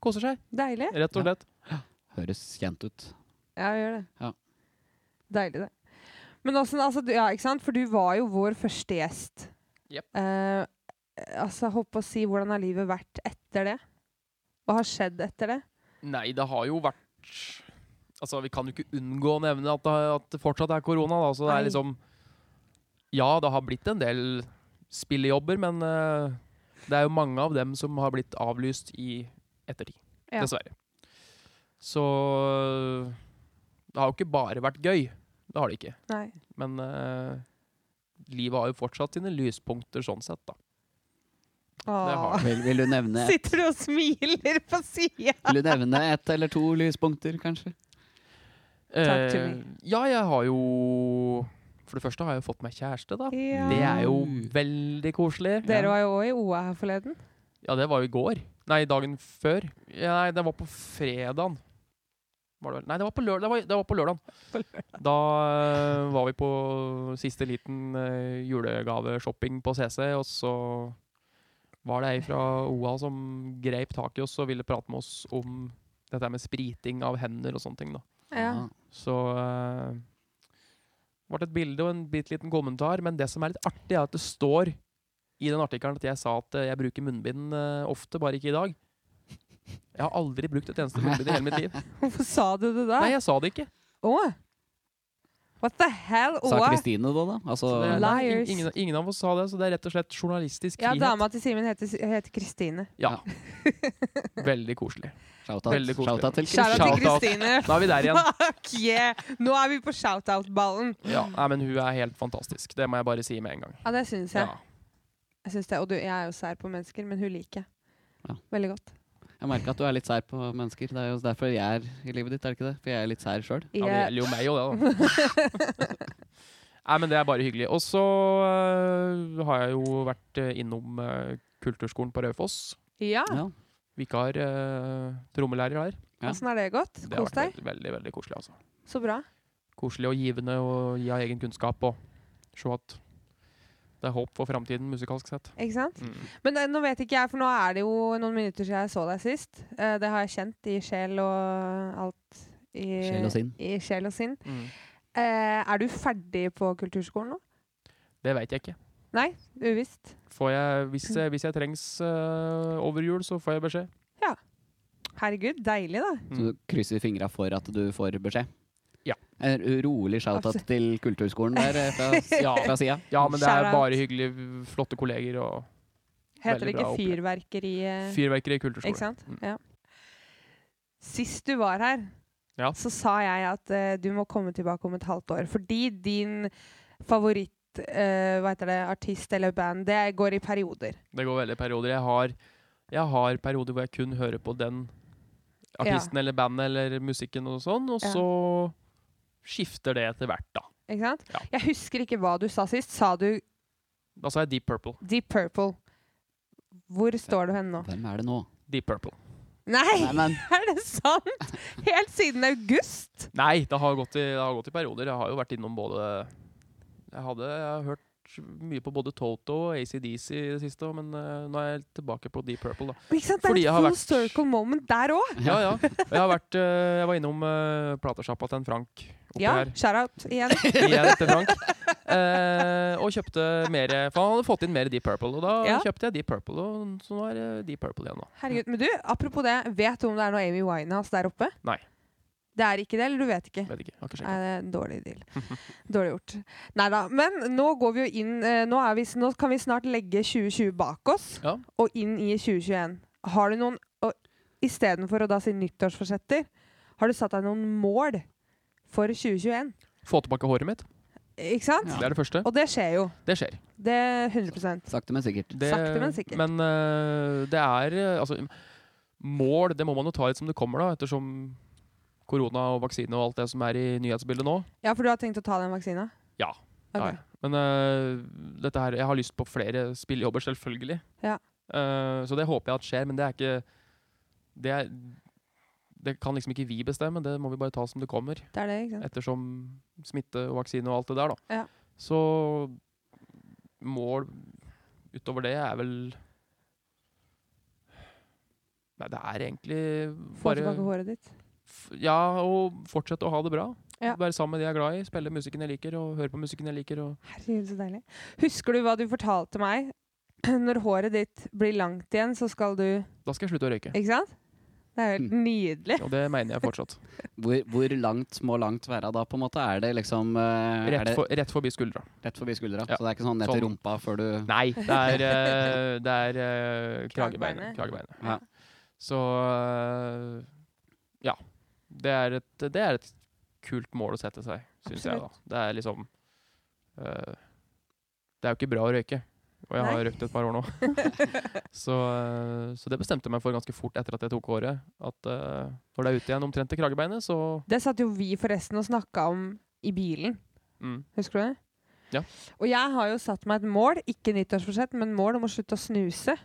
S6: koser seg,
S1: Deilig.
S6: rett og
S2: Ja.
S6: slett.
S2: Høres kjent ut.
S6: (laughs)
S1: Ja, gjør det.
S2: Ja.
S1: Deilig, det. Men åssen altså, du- Ja, ikke sant? For du var jo vår første gjest.
S6: Jep.
S1: Eh, altså, holdt på å si, hvordan har livet vært etter det? Hva har skjedd etter det?
S6: Nei, det har jo vært Altså, vi kan jo ikke unngå å nevne at det, at det fortsatt er korona, da. Så det er
S1: Nei.
S6: liksom Ja, det har blitt en del spillejobber, men eh, det er jo mange av dem som har blitt avlyst i ettertid.
S1: Ja.
S6: Dessverre. Så det har jo ikke bare vært gøy. Det har det ikke.
S1: Nei.
S6: Men eh, livet har jo fortsatt sine lyspunkter sånn sett, da. har
S1: Åh.
S2: Vil, vil, du nevne,
S1: Sitter du og smiler på sida?
S2: vil du nevne ett eller to lyspunkter, kanskje?
S1: Takk,
S6: Eh,
S1: Jimmy.
S6: ja, jeg har jo For det første har jeg jo fått meg kjæreste, da.
S1: Ja.
S6: Det er jo veldig koselig.
S1: Dere var jo òg i OA her forleden.
S6: Ja, det var jo i går. Nei, dagen før. Ja, nei, det var på fredagen. Var det vel? Nei, det var på, lør det var, det var på lørdagen. Da eh, var vi på siste liten eh, julegaveshopping på CC, og så var det ei fra OA som greip tak i oss og ville prate med oss om dette med spriting av hender og sånne ting. da.
S1: Ja.
S6: Så eh, ble det et bilde og en bitte liten kommentar. Men det som er litt artig, er at det står i den artikkelen at jeg sa at eh, jeg bruker munnbind eh, ofte, bare ikke i dag. Jeg har aldri brukt et eneste munnbind i
S1: (laughs)
S6: hele mitt liv.
S1: Hvorfor sa du det da?
S6: Nei, jeg sa det ikke.
S1: Å! What the hell,
S2: Sa
S1: Oa?
S2: Kristine det, da? Altså,
S6: Så det, nei,
S1: Liars.
S6: ingen, ingen av oss sa det, så det er rett og slett journalistisk
S1: Ja,
S6: frihet.
S1: dama til Simen heter heter Kristine.
S6: Veldig koselig.
S2: shout-out
S6: Veldig koselig.
S2: shout til
S1: Shout
S2: Kristine.
S1: out til
S6: Shout-out.
S1: Kristine.
S6: Da er vi der
S1: (laughs)
S6: igjen.
S1: Fuck yeah! Nå er vi på shout-out-ballen.
S6: Ja, nei, men hun er helt fantastisk. Det må jeg bare si med en gang.
S1: Ja, det syns jeg.
S6: Ja.
S1: jeg syns det. Og du, jeg er jo sær på mennesker, men hun liker jeg.
S2: Ja.
S1: Veldig godt.
S2: Jeg merker at du er litt sær på mennesker. Det er jo derfor jeg er i livet ditt, er det ikke det? For jeg er litt sær sjøl.
S6: Ja, det
S1: Jeg-
S6: gjelder jo meg òg, det,
S1: (laughs)
S6: da. Nei, men det er bare hyggelig. Og så øh, har jeg jo vært øh, innom øh, kulturskolen på Raufoss.
S1: ja,
S6: Ah.
S2: Ja.
S6: Vikar øh, trommelærer her.
S2: Ja.
S1: åssen har det gått?
S6: Det har
S1: Kos
S6: vært
S1: deg?
S6: veldig, veldig, veldig koselig. altså.
S1: Så bra.
S6: Koselig og givende å gi av egen kunnskap og se at det er håp for framtiden musikalsk sett.
S1: Ikke sant?
S6: Mm.
S1: Men eh, nå vet ikke jeg, for nå er det jo noen minutter siden jeg så deg sist. Eh, det har jeg kjent i sjel og alt. I,
S2: Sjel og sinn.
S1: I sjel og sinn.
S6: Mm.
S1: Eh, er du ferdig på kulturskolen nå?
S6: Det veit jeg ikke.
S1: Nei, uvisst.
S6: Får jeg, hvis,
S1: Mm.
S6: jeg, hvis jeg trengs øh, over jul, så får jeg
S1: (laughs)
S6: beskjed.
S1: Herregud, deilig, da.
S2: Så du krysser fingra for at du får beskjed?
S6: Ja.
S2: En rolig shout-out
S1: Absolutt.
S2: til kulturskolen der eh, fra,
S6: Ja.
S2: fra sida.
S6: Ja, men det
S1: Shout
S6: er
S1: out.
S6: bare hyggelig, flotte kolleger og
S1: Heter
S6: Veldig
S1: det ikke
S6: bra opplegg.
S1: fyrverkeri? eh,
S6: fyrverkeri i kulturskolen.
S1: Ikke sant?
S6: Mm.
S1: Ja. Sist du var her,
S6: Ja.
S1: så sa jeg at eh, du må komme tilbake om et halvt år. Fordi din favoritt eh, hva heter det, artist eller band, det går i perioder.
S6: Det går veldig i perioder. Jeg har, jeg har perioder hvor jeg kun hører på den artisten eller bandet eller musikken og sånn, og
S1: Ja.
S6: så skifter det etter hvert, da.
S1: Ikke sant?
S6: Ja.
S1: Jeg husker ikke hva du sa sist. Sa du
S6: Da sa jeg Deep Purple.
S1: Deep Purple? Hvor (laughs) står du hen nå?
S2: Hvem er det nå?
S6: Deep Purple.
S1: Nei! (laughs)
S2: Nei, men
S1: Er det sant?! Helt siden august!
S6: Nei, det har gått i, det har gått i perioder. Jeg har jo vært innom både Jeg hadde jeg har hørt mye på både Toto og ACDC i det siste, men eh, nå er jeg tilbake på Deep Purple, da.
S1: Ikke sant? Det
S6: Fordi
S1: er
S6: jeg
S1: et
S6: har
S1: full
S6: vært-
S1: circle moment der òg!
S6: Ja,
S1: (laughs)
S6: ja. Og Jeg, har vært, eh, jeg var innom uh, platesjappa til en Frank oppe
S1: Ja,
S6: her.
S1: shout-out igjen. (laughs)
S6: Igjen til Frank. Eh, og kjøpte mer For han hadde fått inn mer Deep Purple, og da
S1: Ja.
S6: kjøpte jeg Deep Purple, og så nå er det Deep Purple igjen nå.
S1: Herregud, men du, Apropos det, vet du om det er noe Amy Winehouse der oppe?
S6: Nei.
S1: Det er ikke det, eller du vet ikke?
S6: Vet ikke, har ikke
S1: Nei,
S6: sjekket.
S1: det er en dårlig deal.
S6: (laughs)
S1: Dårlig gjort. Nei da. Men nå går vi jo inn eh, nå, er vi, s- nå kan vi snart legge 2020 bak oss
S6: Ja.
S1: og inn i 2021. Har du noen og Istedenfor å da si nyttårsforsetter, har du satt deg noen mål for 2021?
S6: Få tilbake håret mitt.
S1: Ikke sant?
S2: Ja.
S6: Det er det første.
S1: Eh. Og det skjer jo.
S6: Det skjer.
S1: Det er 100
S2: Sakte, men sikkert.
S6: Det,
S1: Sakte, men sikkert.
S6: Men eh, det er eh, Altså, mål det må man jo ta litt som det kommer, da, ettersom korona og vaksine og alt det som er i nyhetsbildet nå.
S1: Ja, for du har tenkt å ta den vaksina?
S6: Ja.
S1: Ok.
S6: Ja, ja. Men eh, dette her Jeg har lyst på flere spillejobber, selvfølgelig.
S1: Ja.
S6: Eh, så det håper jeg at skjer, men det er ikke Det, er, det kan liksom ikke vi bestemme, det må vi bare ta som det kommer.
S1: Det er det, ikke sant?
S6: Ettersom smitte og vaksine og alt det der, da.
S1: Ja.
S6: Så mål utover det er vel Nei, det er egentlig
S1: Få
S6: bare
S1: tilbake håret ditt.
S6: f- Ja, og fortsette å ha det bra.
S1: Ja.
S6: Være sammen med de jeg er glad i, spille musikken jeg liker, og høre på musikken jeg liker. Og
S1: Herregud, så deilig. Husker du hva du fortalte meg? (clears throat) Når håret ditt blir langt igjen, så skal du
S6: da skal jeg slutte å
S1: (laughs)
S6: røyke.
S1: Ikke sant? Det er jo helt nydelig.
S6: Og det mener jeg fortsatt.
S2: Hvor, hvor langt må langt være da, på en måte? Er det liksom eh, er
S6: Rett,
S2: det
S6: for, rett forbi skuldra.
S2: rett forbi skuldra?
S6: Ja.
S2: Så det er ikke sånn ned til
S6: Sånn.
S2: rumpa før du
S6: Nei, det
S2: (laughs)
S6: er, eh, det er eh,
S1: Kragebeinet.
S6: kragebeinet. kragebeinet.
S2: Ja.
S6: Så eh, ja. Det er, et, det er et kult mål å sette seg, syns jeg. da. Det er liksom eh, Det er jo ikke bra å røyke. Og jeg har
S1: Nei.
S6: røykt et par år nå.
S1: (laughs)
S6: så, eh, så det bestemte jeg meg for ganske fort etter at jeg tok håret. At eh, når det er ute igjen omtrent til kragebeinet, så
S1: Det satt jo vi forresten og snakka om i bilen.
S6: mm,
S1: Husker du det?
S6: Ja.
S1: Og jeg har jo satt meg et mål, ikke nyttårsforsett, men mål om å slutte å snuse.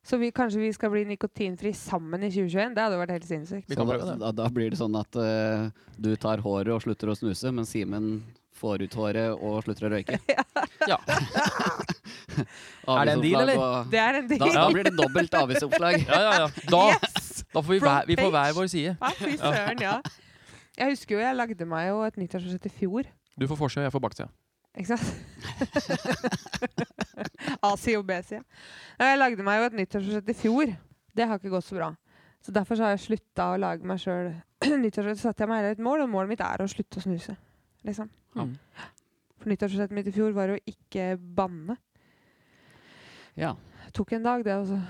S1: Så vi, kanskje vi skal bli nikotinfri sammen i 2021? Det hadde jo vært helt sinnssykt.
S6: Vi
S2: så
S6: kan
S2: da,
S6: prøve det.
S2: da, da blir det sånn at eh, du tar håret og slutter å snuse, men Simen får ut håret og slutter å
S1: (laughs)
S2: røyke. (laughs)
S6: Ja. Er det en
S2: Avgiftsoppslag
S6: deal, eller?
S2: og-
S1: Det er en
S2: Da,
S1: deal!
S2: da blir det dobbelt avgiftsoppslag.
S6: Ja, ja, ja. Da,
S1: (laughs) Yes!
S6: da får vi,
S1: Front
S6: hver, vi får hver
S1: page.
S6: vår side.
S1: Ja, fy søren, ja. Jeg husker jo, jeg lagde meg jo et nyttårsforsett i fjor.
S6: Du får forsida, jeg får baksida.
S1: Ikke sant? (laughs) A-side og B-side. Nei, Jeg lagde meg jo et nyttårsforsett i fjor. Det har ikke gått så bra. Så derfor så har jeg slutta å lage meg sjøl (clears throat) nyttårsforsett. Så satte jeg meg heller et mål, og målet mitt er å slutte å snuse. Liksom.
S2: Ja.
S6: Mm.
S1: For nyttårsforsettet mitt i fjor var å ikke banne.
S2: Ja.
S1: Det tok en dag, det. altså.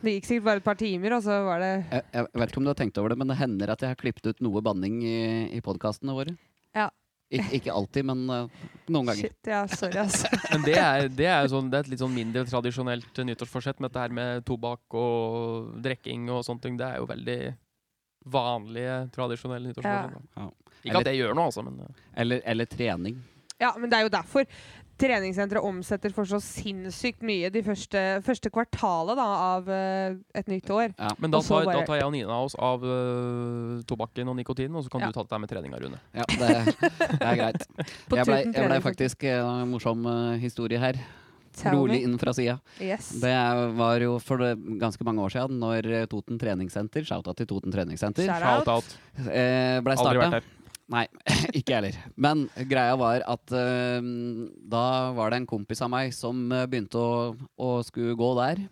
S1: Det gikk sikkert bare et par timer, og så var det
S2: Jeg, jeg vet ikke om du har tenkt over det, men det hender at jeg har klippet ut noe banning i, i podkastene våre.
S1: Ja.
S2: Ik ikke alltid, men eh, noen ganger.
S1: Shit, ja, sorry, altså.
S6: Men det er, det er, jo sånn, det er et litt sånn mindre tradisjonelt eh, nyttårsforsett med dette her med tobakk og drikking og sånne ting. Det er jo veldig vanlige, tradisjonelle nyttårsforsett. da.
S2: Ja.
S6: Ikke at jeg gjør noe, altså, men eh,
S2: Eller, eller trening.
S1: Ja, men det er jo derfor. Treningssenteret omsetter for så sinnssykt mye de første, første kvartalet da, av eh, et nytt år.
S2: Ja.
S6: Men da
S1: Og så
S6: tar, da
S1: bare-
S6: tar jeg og Nina oss av øh, tobakken og nikotinen, og så kan
S1: Ja.
S6: du ta dette her med treninga, Rune.
S2: Ja, det, det er greit.
S1: (laughs) På Tuten
S2: Jeg blei ble
S1: treningssenter.
S2: faktisk eh, en morsom eh, historie her.
S1: Tell me.
S2: Rolig inn fra sida.
S1: Yes.
S2: Det var jo for det- ganske mange år siden, når eh, Toten treningssenter, shouta til Toten treningssenter,
S1: Shout
S6: Shout
S1: out.
S6: out.
S2: eh, blei
S6: Aldri
S2: starta.
S6: vært der.
S2: Nei, ikke jeg heller. Men greia var at eh, da var det en kompis av meg som eh, begynte å, å skulle gå der.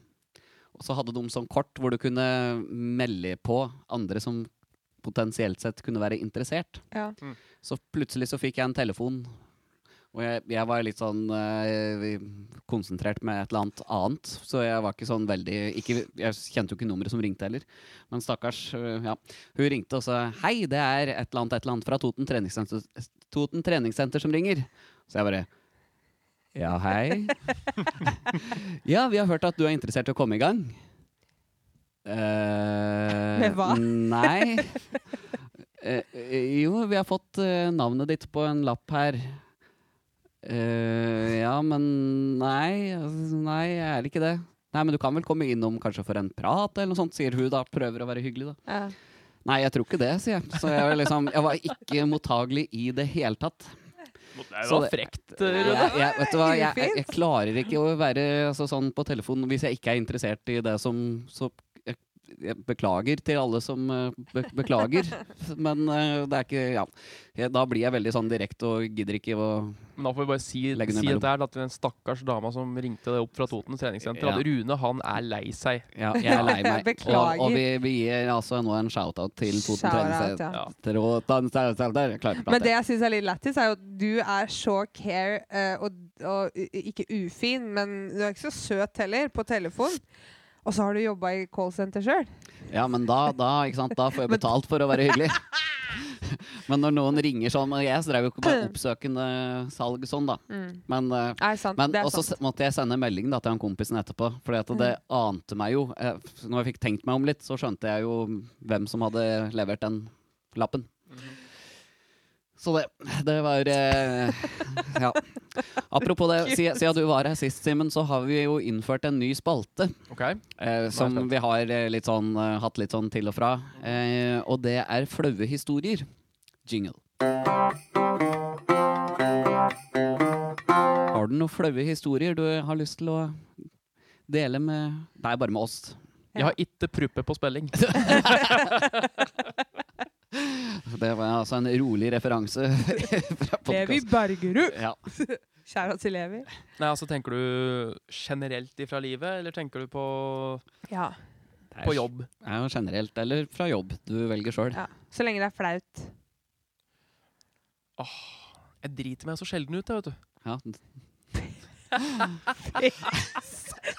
S2: Og så hadde de sånn kort hvor du kunne melde på andre som potensielt sett kunne være interessert.
S1: Ja.
S6: Mm.
S2: Så plutselig så fikk jeg en telefon. Og jeg, jeg var litt sånn eh, konsentrert med et eller annet annet. Så jeg var ikke sånn veldig ikke, Jeg kjente jo ikke nummeret som ringte heller. Men stakkars, eh, ja. Hun ringte og sa Hei, det er et eller annet, et eller annet fra Toten treningssenter, Toten treningssenter som ringer. Så jeg bare Ja, hei. (laughs) ja, vi har hørt at du er interessert i å komme i gang. Eh,
S1: Med hva?
S2: Nei. Eh, eh, jo, vi har fått eh, navnet ditt på en lapp her. Eh, ja, men nei. altså, Nei, jeg er ikke det. Nei, men du kan vel komme innom kanskje for en prat, eller noe sånt, sier hun da. Prøver å være hyggelig, da.
S1: Ja.
S2: Nei, jeg tror ikke det, sier jeg. Så jeg, var liksom, jeg var ikke mottagelig i det hele tatt.
S6: Det
S2: Så
S6: var
S2: det-
S6: frekt,
S2: Jeg,
S6: eh, Rune.
S2: jeg, vet du hva, jeg, jeg,
S1: Ufint.
S2: jeg klarer ikke å være altså, sånn på telefonen hvis jeg ikke er interessert i det som så, jeg, jeg beklager til alle som eh, be,
S1: (laughs)
S2: beklager, men eh, det er ikke Ja. Jeg, da blir jeg veldig sånn direkte og gidder ikke å
S6: Men da får vi bare si, si
S2: Legg den
S6: dette
S2: imellom.
S6: her, da, til den stakkars dama som ringte deg opp fra Toten treningssenter,
S2: Ja.
S6: at Rune, han er lei seg.
S2: Ja, jeg er lei meg.
S1: (laughs) Beklager.
S2: Og, og vi, vi gir altså nå en shout-out til Toten
S1: Shout out,
S2: treningssenter.
S1: ja.
S2: og Dansesenter. Jeg klarer ikke å
S1: Men
S2: prate.
S1: det jeg syns er litt lættis, er jo at du er så care eh, og, og u- ikke ufin, men du er ikke så søt heller på telefon. Og så har du jobba i callsenter sjøl.
S2: Ja, men da, da, ikke sant, da får jeg
S1: Men- (laughs)
S2: betalt for å være hyggelig. Men når noen ringer sånn og Jeg drev jo ikke med oppsøkende salg sånn, da.
S1: Mm.
S2: Men, eh,
S1: Nei, sant.
S2: men
S1: det er
S2: også
S1: sant. Mm.
S2: s- måtte jeg sende melding da, til han kompisen etterpå. For det ante meg jo eh, f- Når jeg fikk tenkt meg om litt, så skjønte jeg jo hvem som hadde levert den lappen.
S1: Mhm.
S2: Så det, det var eh,
S1: (laughs)
S2: Ja. Apropos det, si- siden du var her sist, Simen, så har vi jo innført en ny spalte.
S6: Ok.
S2: Eh,
S6: Nei,
S2: som
S6: sant.
S2: vi har eh, litt sånn, eh, hatt litt sånn til og fra. Eh, og det er flaue historier. Jingle. Har du noen flaue historier du har lyst til å dele med Nei, bare med oss.
S6: Jeg har ikke pruppe på spelling.
S2: Det var altså en rolig referanse (laughs)
S1: Levi
S2: fra podkast.
S1: Bergerud!
S2: Ja.
S1: Kjære til Levi.
S6: Nei, altså Tenker du generelt ifra livet, eller tenker du på,
S1: Ja.
S6: på jobb?
S2: Ja, generelt, eller fra jobb. Du velger sjøl.
S1: ja. Så lenge det er flaut.
S6: Jeg driter meg så sjelden ut, jeg, vet du.
S2: Ja.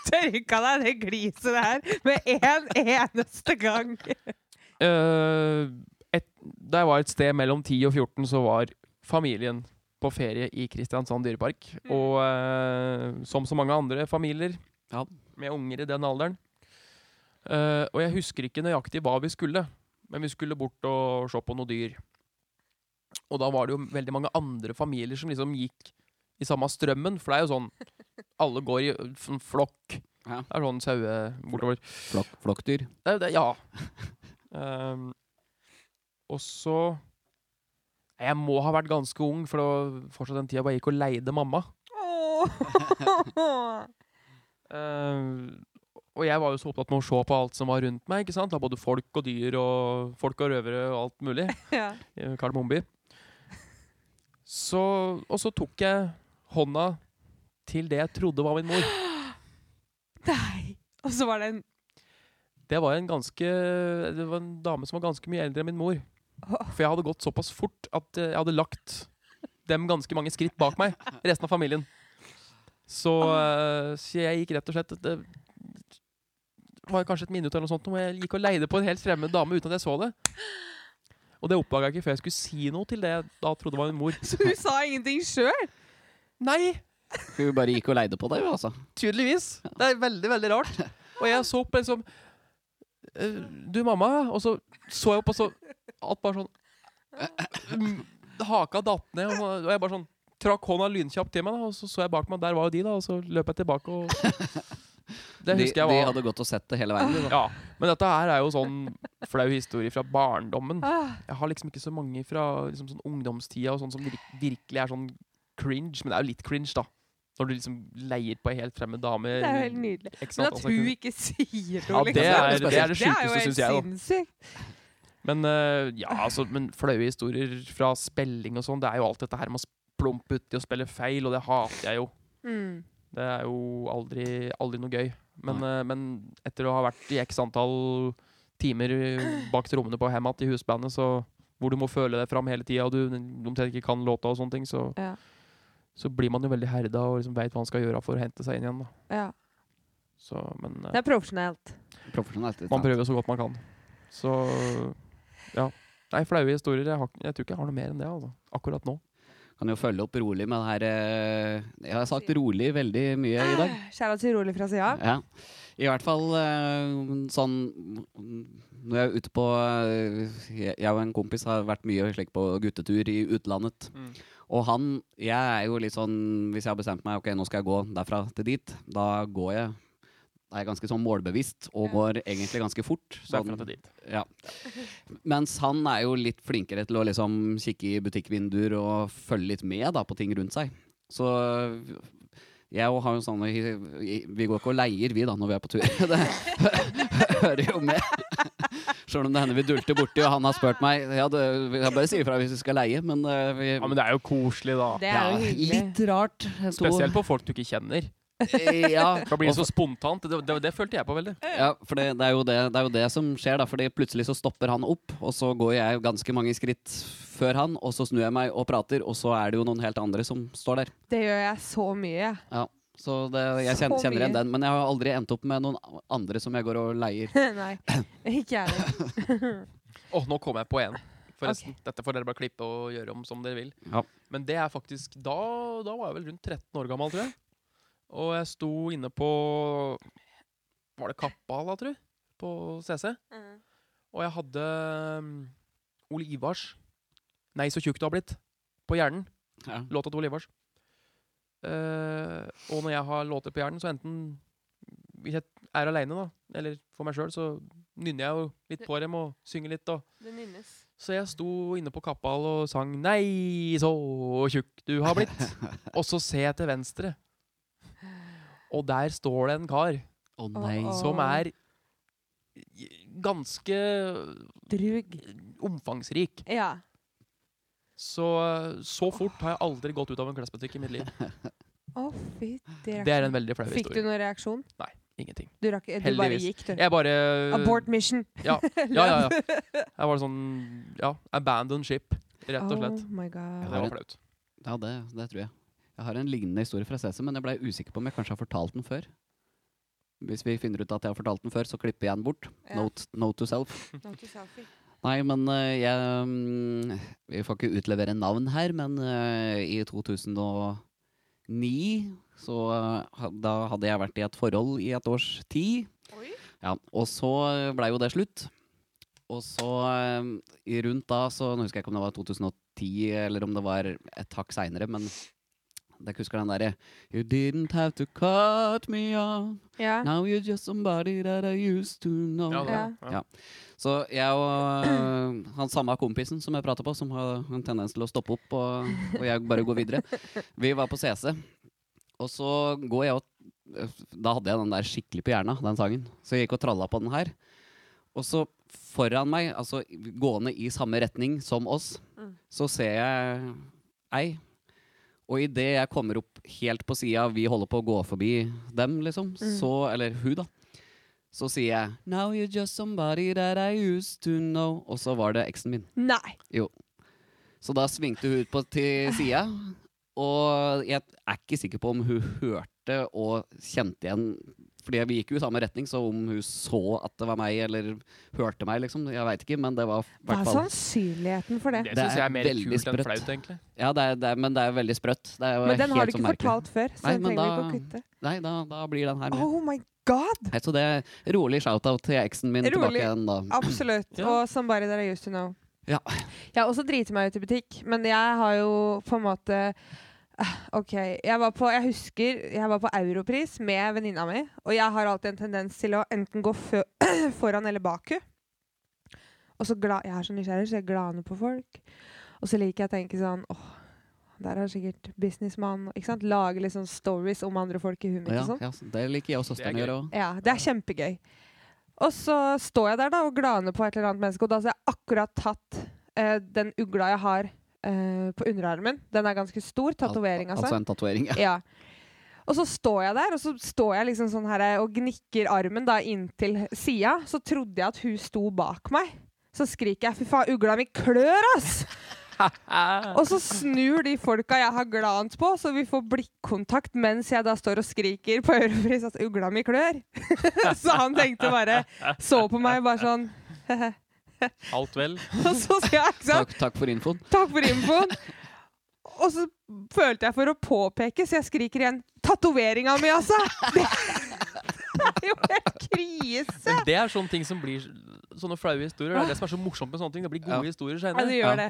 S1: Tørka deg det gliset der med en eneste gang.
S6: Eh, et, da jeg var et sted mellom 10 og 14, så var familien på ferie i Kristiansand dyrepark.
S2: Mm.
S6: Og eh, som så mange andre familier
S2: Ja.
S6: med unger i den alderen. Eh, og jeg husker ikke nøyaktig hva vi skulle, men vi skulle bort og se på noe dyr. Og da var det jo veldig mange andre familier som liksom gikk i samme strømmen, for det er jo sånn Alle går i en flokk.
S2: Ja.
S6: Det er sånn saue bortover.
S2: Flokk, flokkdyr.
S6: Det er jo det, ja. (laughs) Ehm, og så Nei, Jeg må ha vært ganske ung, for det var fortsatt den tida jeg bare gikk og leide mamma.
S1: Åh.
S6: Ehm, og jeg var jo så opptatt med å se på alt som var rundt meg. ikke sant? Av både folk og dyr og folk og røvere og alt mulig.
S1: Ja.
S6: i Kardemommeby. Så, og så tok jeg hånda til det jeg trodde var min mor.
S1: Nei. Og så var det en
S6: Det var en ganske Det var en dame som var ganske mye eldre enn min mor. For jeg hadde gått såpass fort at eh, jeg hadde lagt dem ganske mange skritt bak meg. Resten av familien. Så, eh, så jeg gikk rett og slett Det var kanskje et minutt eller noe sånt hvor jeg gikk og leide på en helt fremmed dame uten at jeg så det. Og det oppdaga jeg ikke før jeg skulle si noe til det jeg da trodde var min mor.
S1: Så hun sa ingenting sjøl?
S6: Nei!
S2: Hun bare gikk og leide på deg, altså.
S6: Tydeligvis. Det er veldig, veldig rart. Og jeg så opp liksom eh, Du, mamma. Og så så jeg opp, og så Alt bare sånn mm, Haka datt ned, og, så, og jeg bare sånn trakk hånda lynkjapt til meg, da, og så så jeg bak meg. Der var jo de, da, og så løp jeg tilbake og Det
S2: De,
S6: husker
S2: de
S6: jeg var
S2: hadde gått og sett det hele veien. de, da.
S6: ja, Men dette her er jo sånn flau historie fra barndommen.
S1: Ah,
S6: Jeg har liksom ikke så mange fra liksom sånn ungdomstida og sånn som virk- virkelig er sånn cringe. Men det er jo litt cringe, da. Når du liksom leier på ei helt fremmed dame.
S1: det er jo helt nydelig.
S6: X
S1: Men
S6: antall
S1: at hun
S6: sekunder.
S1: ikke sier
S6: altså. Ja,
S1: noe,
S6: det
S1: liksom.
S6: er
S2: Det er
S6: det, er det
S1: jo
S6: sjukeste,
S1: helt
S6: syns jeg. Da.
S1: sinnssykt.
S6: Men, eh, ja, altså, men flaue historier fra spilling og sånn, det er jo alt dette her med å plumpe uti og spille feil, og det hater jeg jo.
S1: Mm.
S6: Det er jo aldri, aldri noe gøy. Men, eh, men etter å ha vært i x antall timer bak trommene på Hemat i husbandet, så hvor du må føle deg fram hele tida, og du omtrent ikke kan låta og sånne ting, så,
S1: Ja.
S6: så blir man jo veldig herda og liksom veit hva man skal gjøre for å hente seg inn igjen. Da.
S1: Ja.
S6: Så, men, eh,
S1: Det er profesjonelt.
S2: Profesjonelt. ikke
S6: Man
S2: sant?
S6: prøver så godt man kan. Så ja. Nei, flaue historier. Jeg, har, jeg tror ikke jeg har noe mer enn det altså. akkurat nå.
S2: Kan jo følge opp rolig med det her eh, Jeg har sagt rolig veldig mye i dag.
S1: Kjære til rolig fra sida.
S2: Ja. I hvert fall eh, sånn Når jeg er ute på eh, Jeg og en kompis har vært mye slik på guttetur i utlandet.
S6: Mm.
S2: Og han Jeg er jo litt sånn Hvis jeg har bestemt meg Ok, nå skal jeg gå derfra til dit, da går jeg. Da er jeg ganske sånn målbevisst og går egentlig ganske fort. Sånn, ja. Mens han er jo litt flinkere til å liksom kikke i butikkvinduer og følge litt med da, på ting rundt seg. Så jeg og har jo sånne Vi går ikke og leier, vi, da, når vi er på tur. (laughs) Det hører jo med. Sjøl om det hender vi dulter borti, og han har spurt meg Ja, det, jeg bare sier ifra hvis vi skal leie, men eh, vi
S6: Ja, men det er jo koselig, da.
S1: Det er jo
S2: Ja,
S1: hyggelig.
S2: Litt rart. To-
S6: Spesielt på folk du ikke kjenner.
S2: Ja,
S6: Det blir så spontant. Det, det, det følte jeg på veldig.
S2: Ja, for det, det, er jo det, det er jo det som skjer, da. Fordi plutselig så stopper han opp, og så går jeg ganske mange skritt før han, og så snur jeg meg og prater, og så er det jo noen helt andre som står der.
S1: Det gjør jeg så mye. (laughs) jeg.
S2: Så det, jeg
S1: Så
S2: kjenner, kjenner igjen
S1: mye.
S2: den. Men jeg har jo aldri endt opp med noen andre som jeg går og leier.
S1: Nei, ikke jeg heller.
S6: Åh, nå kom jeg på en. forresten. Dette får dere bare klippe og gjøre om som dere vil.
S2: Ja.
S6: Men det er faktisk da, da var jeg vel rundt 13 år gammel, tror jeg. Og jeg sto inne på Var det Kappala, tror jeg? På CC.
S1: Mm.
S6: Og jeg hadde mm, Ole Ivars 'Nei, så tjukk du har blitt' på hjernen.
S2: Ja.
S6: Låta til Ole Ivars. Eh, og når jeg har låter på hjernen, så enten Hvis jeg er aleine, da, eller for meg sjøl, så nynner jeg jo litt på dem og synger litt. og
S1: Det nynnes.
S6: så jeg sto inne på Kappal og sang 'Nei, så tjukk du har
S1: (laughs)
S6: blitt'. og så ser jeg til venstre, og der står det en kar
S2: (laughs) Å nei.
S1: Å, å.
S6: som er ganske
S1: Drug.
S6: omfangsrik.
S1: Ja.
S6: Så, så fort har jeg aldri gått ut av en klesbutikk i
S1: (laughs)
S6: mitt liv.
S1: Å, fy
S6: Det er en veldig flau
S1: Fikk du
S6: historie.
S1: noen reaksjon?
S6: Ingenting.
S1: Du, rakk, du bare
S6: Heldigvis.
S1: gikk, du.
S6: Jeg bare
S1: Abort mission.
S6: Ja, ja,
S1: (laughs)
S6: ja. Jeg var sånn Ja, abandon ship, rett og slett.
S1: Oh my god.
S6: Det var flaut.
S2: (laughs) Ja, det, det tror jeg. Jeg har en lignende historie fra CC, men jeg ble usikker på om jeg kanskje har fortalt den før. Hvis vi finner ut at jeg har fortalt den før, så klipper jeg den bort.
S1: Ja.
S2: Note, note to self.
S1: Not a selfie.
S2: Nei, men eh, jeg mm, Vi får ikke utlevere navn her, men eh, i 2009 så eh, ha- Da hadde jeg vært i et forhold i et års tid.
S1: Oi.
S2: Ja, og så eh, blei jo det slutt. Og så eh, i rundt da, så nå husker jeg ikke om det var 2010 eller om det var et hakk seinere, men jeg husker den derre You didn't have to cut me off,
S1: Ja.
S2: now you're just somebody that I used to know.
S6: Ja, det,
S1: Ja.
S6: ja.
S2: Så jeg og øh, han samme kompisen som jeg prata på, som har en tendens til å stoppe opp, og, og jeg bare går videre, vi var på CC. Og så går jeg og Da hadde jeg den der skikkelig på hjerna, den sangen. Så jeg gikk og tralla på den her. Og så foran meg, altså gående i samme retning som oss, så ser jeg ei. Og idet jeg kommer opp helt på sida, vi holder på å gå forbi dem, liksom, så Eller hun, da. Så sier jeg Now you're just somebody that I used to know. Og så var det eksen min.
S1: Nei.
S2: Så da svingte hun ut på til sida. Og jeg er ikke sikker på om hun hørte og kjente igjen Fordi vi gikk jo i samme retning, så om hun så at det var meg, eller hørte meg, liksom. Jeg veit ikke, men det var i
S1: Hva
S2: hvert
S1: er
S2: fall
S1: sannsynligheten for det?
S6: Det
S2: Det
S6: syns jeg
S2: er
S6: er mer
S2: veldig
S6: kult enn
S2: sprøtt.
S6: flaut, egentlig.
S2: Ja, det er, det er, men det er veldig sprøtt. Det er jo
S1: Men den har
S2: helt
S1: du
S2: sånn
S1: ikke
S2: merkelig.
S1: fortalt før, så
S2: Nei,
S1: den
S2: men
S1: trenger vi ikke å
S2: da-
S1: kutte.
S2: Nei, da, da blir den her med.
S1: Oh my god!
S2: Nei, Så det er rolig shout-out til eksen min
S1: Rolig.
S2: tilbake igjen, da.
S1: Absolutt.
S6: Ja.
S1: Og somebody that I used to know.
S2: Ja.
S1: Jeg har også driti meg ut i butikk, men jeg har jo på en måte eh, OK. Jeg var på, jeg husker jeg var på Europris med venninna mi, og jeg har alltid en tendens til å enten gå fø (clears throat) foran eller bak henne. Og så gla jeg er så nysgjerrig, så jeg glaner på folk. Og så liker jeg å tenke sånn åh, der er sikkert businessmann. ikke sant? Lage litt sånn stories om andre folk i huet mitt. og
S2: Ja,
S1: sånn.
S2: ja, det liker jeg og søsteren
S6: Det er
S2: gjør òg.
S1: Ja, det er kjempegøy. Og så står jeg der da og glaner på et eller annet menneske, og da har jeg akkurat tatt eh, den ugla jeg har eh, på underarmen. Den er ganske stor. Tatovering, altså.
S2: Altså en tatovering. Ja.
S1: Ja. Og så står jeg der, og så står jeg liksom sånn her og gnikker armen da inntil sida. Så trodde jeg at hun sto bak meg. Så skriker jeg 'fy faen, ugla mi klør', ass!
S6: Ah,
S1: og så snur de folka jeg har glant på, så vi får blikkontakt mens jeg da står og skriker på ørefris at 'ugla mi klør'. (laughs) så han tenkte bare Så på meg bare sånn
S6: Alt vel.
S1: Og så sier jeg ikke sant?
S2: Takk, takk for infoen.
S1: Takk for infoen. Og så følte jeg for å påpeke, så jeg skriker igjen Tatoveringa mi, altså! (laughs) Det er jo helt krise!
S6: Men det er sånne ting som blir sånne flaue historier. Det er det som er så morsomt med sånne ting. Det blir gode
S2: Ja.
S6: historier
S1: Ja, det
S6: senere.
S1: gjør det.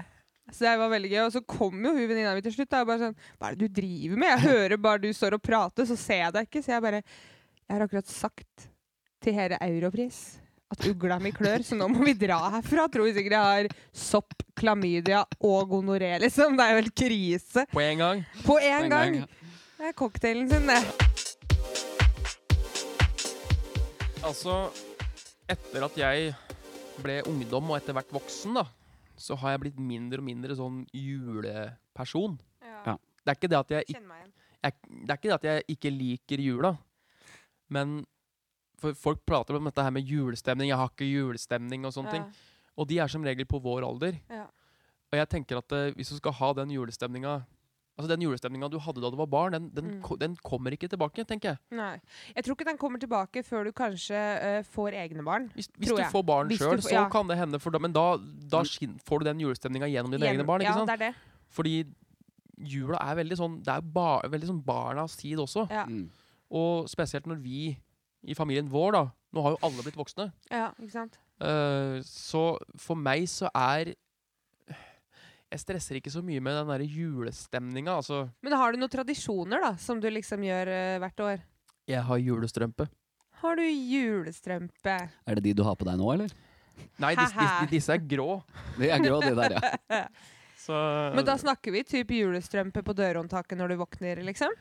S1: Så det var veldig gøy. Og så kom jo hun venninna mi til slutt. Da, og bare sånn, Hva er det du driver med? Jeg hører bare du står og prater, så ser jeg deg ikke. Så jeg bare Jeg har akkurat sagt til hele Europris at ugla mi klør, så nå må vi dra herfra. Tror vi sikkert jeg har sopp, klamydia og gonoré, liksom. Det er jo helt krise.
S6: På en gang.
S1: På én
S2: Den
S1: gang.
S2: gangen.
S1: Det er cocktailen sin, det.
S6: Altså, etter at jeg ble ungdom og etter hvert voksen, da, så har jeg blitt mindre og mindre sånn juleperson.
S2: Ja.
S6: Det er ikke det at jeg,
S1: Kjenn meg igjen.
S6: ik- jeg, det er ikke det at jeg ikke liker jula, men for folk prater om dette her med julestemning. Jeg har ikke julestemning og sånne ting. Og de er som regel på vår alder.
S1: Ja.
S6: Og jeg tenker at eh, hvis du skal ha den julestemninga Altså Den julestemninga du hadde da du var barn, den, den,
S1: Mm.
S6: ko- den kommer ikke tilbake, tenker jeg.
S1: Nei. Jeg tror ikke den kommer tilbake før du kanskje eh, får egne barn.
S6: Hvis, hvis
S1: Tror
S6: du
S1: jeg.
S6: får barn
S1: Hvis du
S6: sjøl,
S1: får-
S6: så
S1: ja.
S6: kan det hende, for da, men da, da skin, får du den julestemninga gjennom dine egne
S1: Gjennom-
S6: barn. ikke
S1: ja,
S6: sant?
S1: det er det.
S6: Fordi jula er veldig sånn Det er ba, veldig sånn barnas tid også.
S1: Ja.
S2: Mm.
S6: Og spesielt når vi i familien vår, da Nå har jo alle blitt voksne.
S1: Ja, ikke sant?
S6: Eh, så for meg så er Jeg stresser ikke så mye med den derre julestemninga. Altså,
S1: Men har du noen tradisjoner da, som du liksom gjør eh, hvert år?
S6: jeg har julestrømpe.
S1: Har du julestrømpe?
S2: Er det de du har på deg nå, eller?
S6: Nei, disse, disse, disse er grå.
S2: De er grå, de der, ja.
S6: Så
S1: Men da snakker vi typ julestrømpe på dørhåndtaket når du våkner, liksom?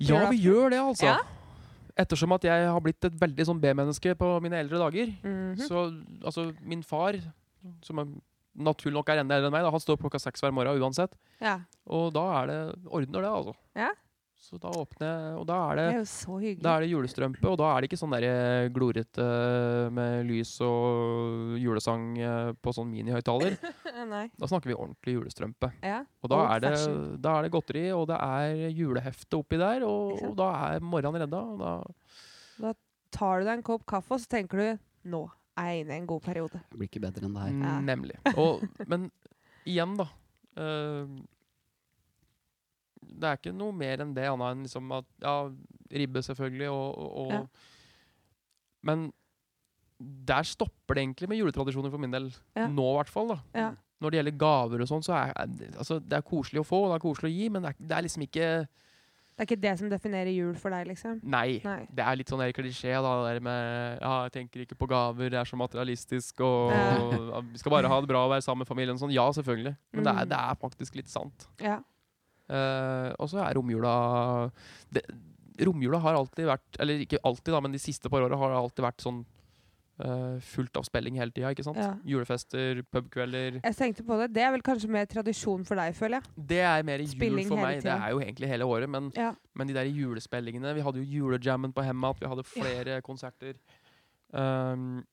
S6: Ja, vi gjør det, altså.
S1: Ja.
S6: Ettersom at jeg har blitt et veldig sånn B-menneske på mine eldre dager.
S1: Mhm.
S6: Så altså, min far, som er, naturlig nok er enda eldre enn meg, da, han står opp klokka seks hver morgen uansett.
S1: Ja.
S6: Og da er det ordner det, altså.
S1: Ja.
S6: Så da åpner jeg, og da er
S1: Det
S6: det
S1: er jo så hyggelig.
S6: da er det julestrømpe, og da er det ikke sånn der eh, glorete eh, med lys og julesang eh, på sånn minihøyttaler.
S1: (laughs) Nei.
S6: Da snakker vi ordentlig julestrømpe.
S1: Ja.
S6: Og da
S1: Old
S6: er, det,
S1: fashion.
S6: da er det godteri, og det er julehefte oppi der, og,
S1: Ikke sant?
S6: og da er morgenen redda. Og da
S1: Tar du deg en kopp kaffe, og så tenker du nå er jeg inne i en god periode.
S2: Det blir ikke bedre enn det her.
S1: Ja.
S6: Nemlig. Og, men igjen, da. eh, det er ikke noe mer enn det, annet enn liksom at Ja, ribbe, selvfølgelig, og, og, og
S1: Ja.
S6: Men der stopper det egentlig med juletradisjoner for min del.
S1: Ja.
S6: Nå, i hvert fall. da.
S1: Ja.
S6: Når det gjelder gaver og sånn, så er er det- altså, det er koselig å få, og det er koselig å gi, men det er, det er liksom ikke
S1: Det er ikke det som definerer jul for deg, liksom?
S6: Nei.
S1: Nei.
S6: Det er litt sånn der klisjé, da. Det der med Ja, jeg tenker ikke på gaver, det er så materialistisk, og
S1: Ja.
S6: vi skal bare ha det bra og være sammen med familien. og Sånn, ja, selvfølgelig. Men det,
S1: Mm.
S6: er, det er faktisk litt sant.
S1: Ja.
S6: Eh, og så er romjula det, Romjula har alltid vært Eller ikke alltid, da, men de siste par åra har det alltid vært sånn eh, fullt av spilling hele tida, ikke sant?
S1: Ja.
S6: Julefester, pubkvelder
S1: Jeg tenkte på det. Det er vel kanskje mer tradisjon for deg, føler jeg.
S6: Det er mer jul
S1: Spilling
S6: for
S1: hele
S6: meg. Det
S1: tida.
S6: er jo egentlig hele året, men
S1: Ja.
S6: Men de der julespillingene Vi hadde jo julejammen på Hemmat, vi hadde flere konserter. Ehm,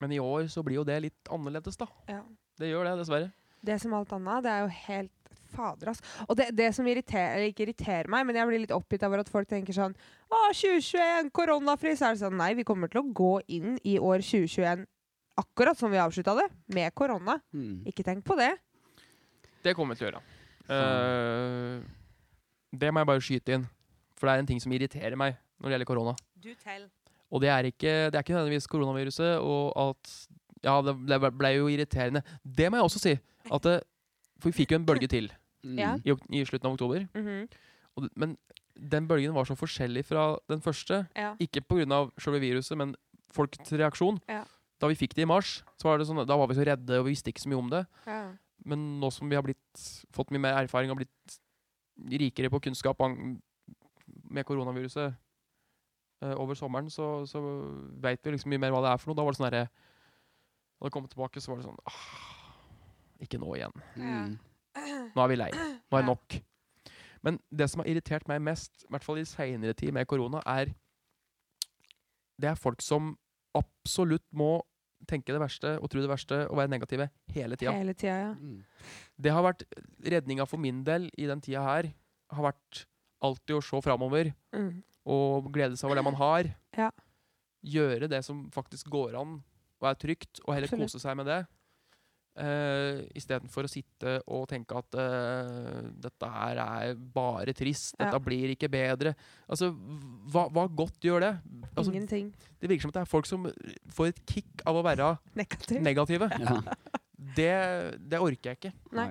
S6: men i år så blir jo det litt annerledes, da.
S1: Ja.
S6: Det gjør det, dessverre.
S1: Det som alt annet, det er jo helt fader, ass. Og det, det som irriterer, eller ikke irriterer meg, men jeg blir litt oppgitt over at folk tenker sånn Å, 2021, koronafri! Så er det sånn Nei, vi kommer til å gå inn i år 2021 akkurat som vi avslutta det, med korona.
S2: Mm.
S1: Ikke tenk på det.
S6: Det kommer vi til å gjøre. Ehm, det må jeg bare skyte inn, for det er en ting som irriterer meg når det gjelder korona.
S1: Du tell.
S6: Og det er ikke, det er ikke nødvendigvis koronaviruset, og at Ja, det ble, ble jo irriterende. Det må jeg også si. At det, for vi fikk jo en bølge til
S2: Mm.
S1: Ja.
S6: i, ok- i slutten av oktober.
S1: Mhm.
S6: Og, det- men den bølgen var så forskjellig fra den første.
S1: Ja.
S6: Ikke pga. selve viruset, men folks reaksjon.
S1: Ja.
S6: Da vi fikk det i mars, så var det sånn, da var vi så redde og vi visste ikke så mye om det.
S1: ja.
S6: Men nå som vi har blitt, fått mye mer erfaring og blitt rikere på kunnskap ang- med koronaviruset eh, over sommeren, så, så veit vi liksom mye mer hva det er for noe. Da var det sånn herre Da det kom tilbake, så var det sånn ah, Ikke nå igjen.
S2: Mm.
S6: Nå er vi lei. Nå er
S1: Ja.
S6: det nok. Men det som har irritert meg mest, i hvert fall i seinere tid med korona, er Det er folk som absolutt må tenke det verste og tro det verste og være negative hele tida.
S1: Hele tida, ja.
S2: Mm.
S6: Det har vært redninga for min del i den tida her. Har vært alltid å se framover
S1: Mm.
S6: og glede seg over det man har.
S1: Ja.
S6: Gjøre det som faktisk går an og er trygt, og heller
S1: Absolutt.
S6: kose seg med det. Uh, Istedenfor å sitte og tenke at eh, dette her er bare trist,
S1: Ja.
S6: dette blir ikke bedre. Altså, hva, hva godt gjør det? Altså,
S1: Ingenting
S6: det virker som at det er folk som får et kick av å
S1: (laughs)
S6: være
S1: negativt.
S6: negative.
S2: Ja.
S6: Det, det orker jeg ikke.
S1: (laughs) Nei.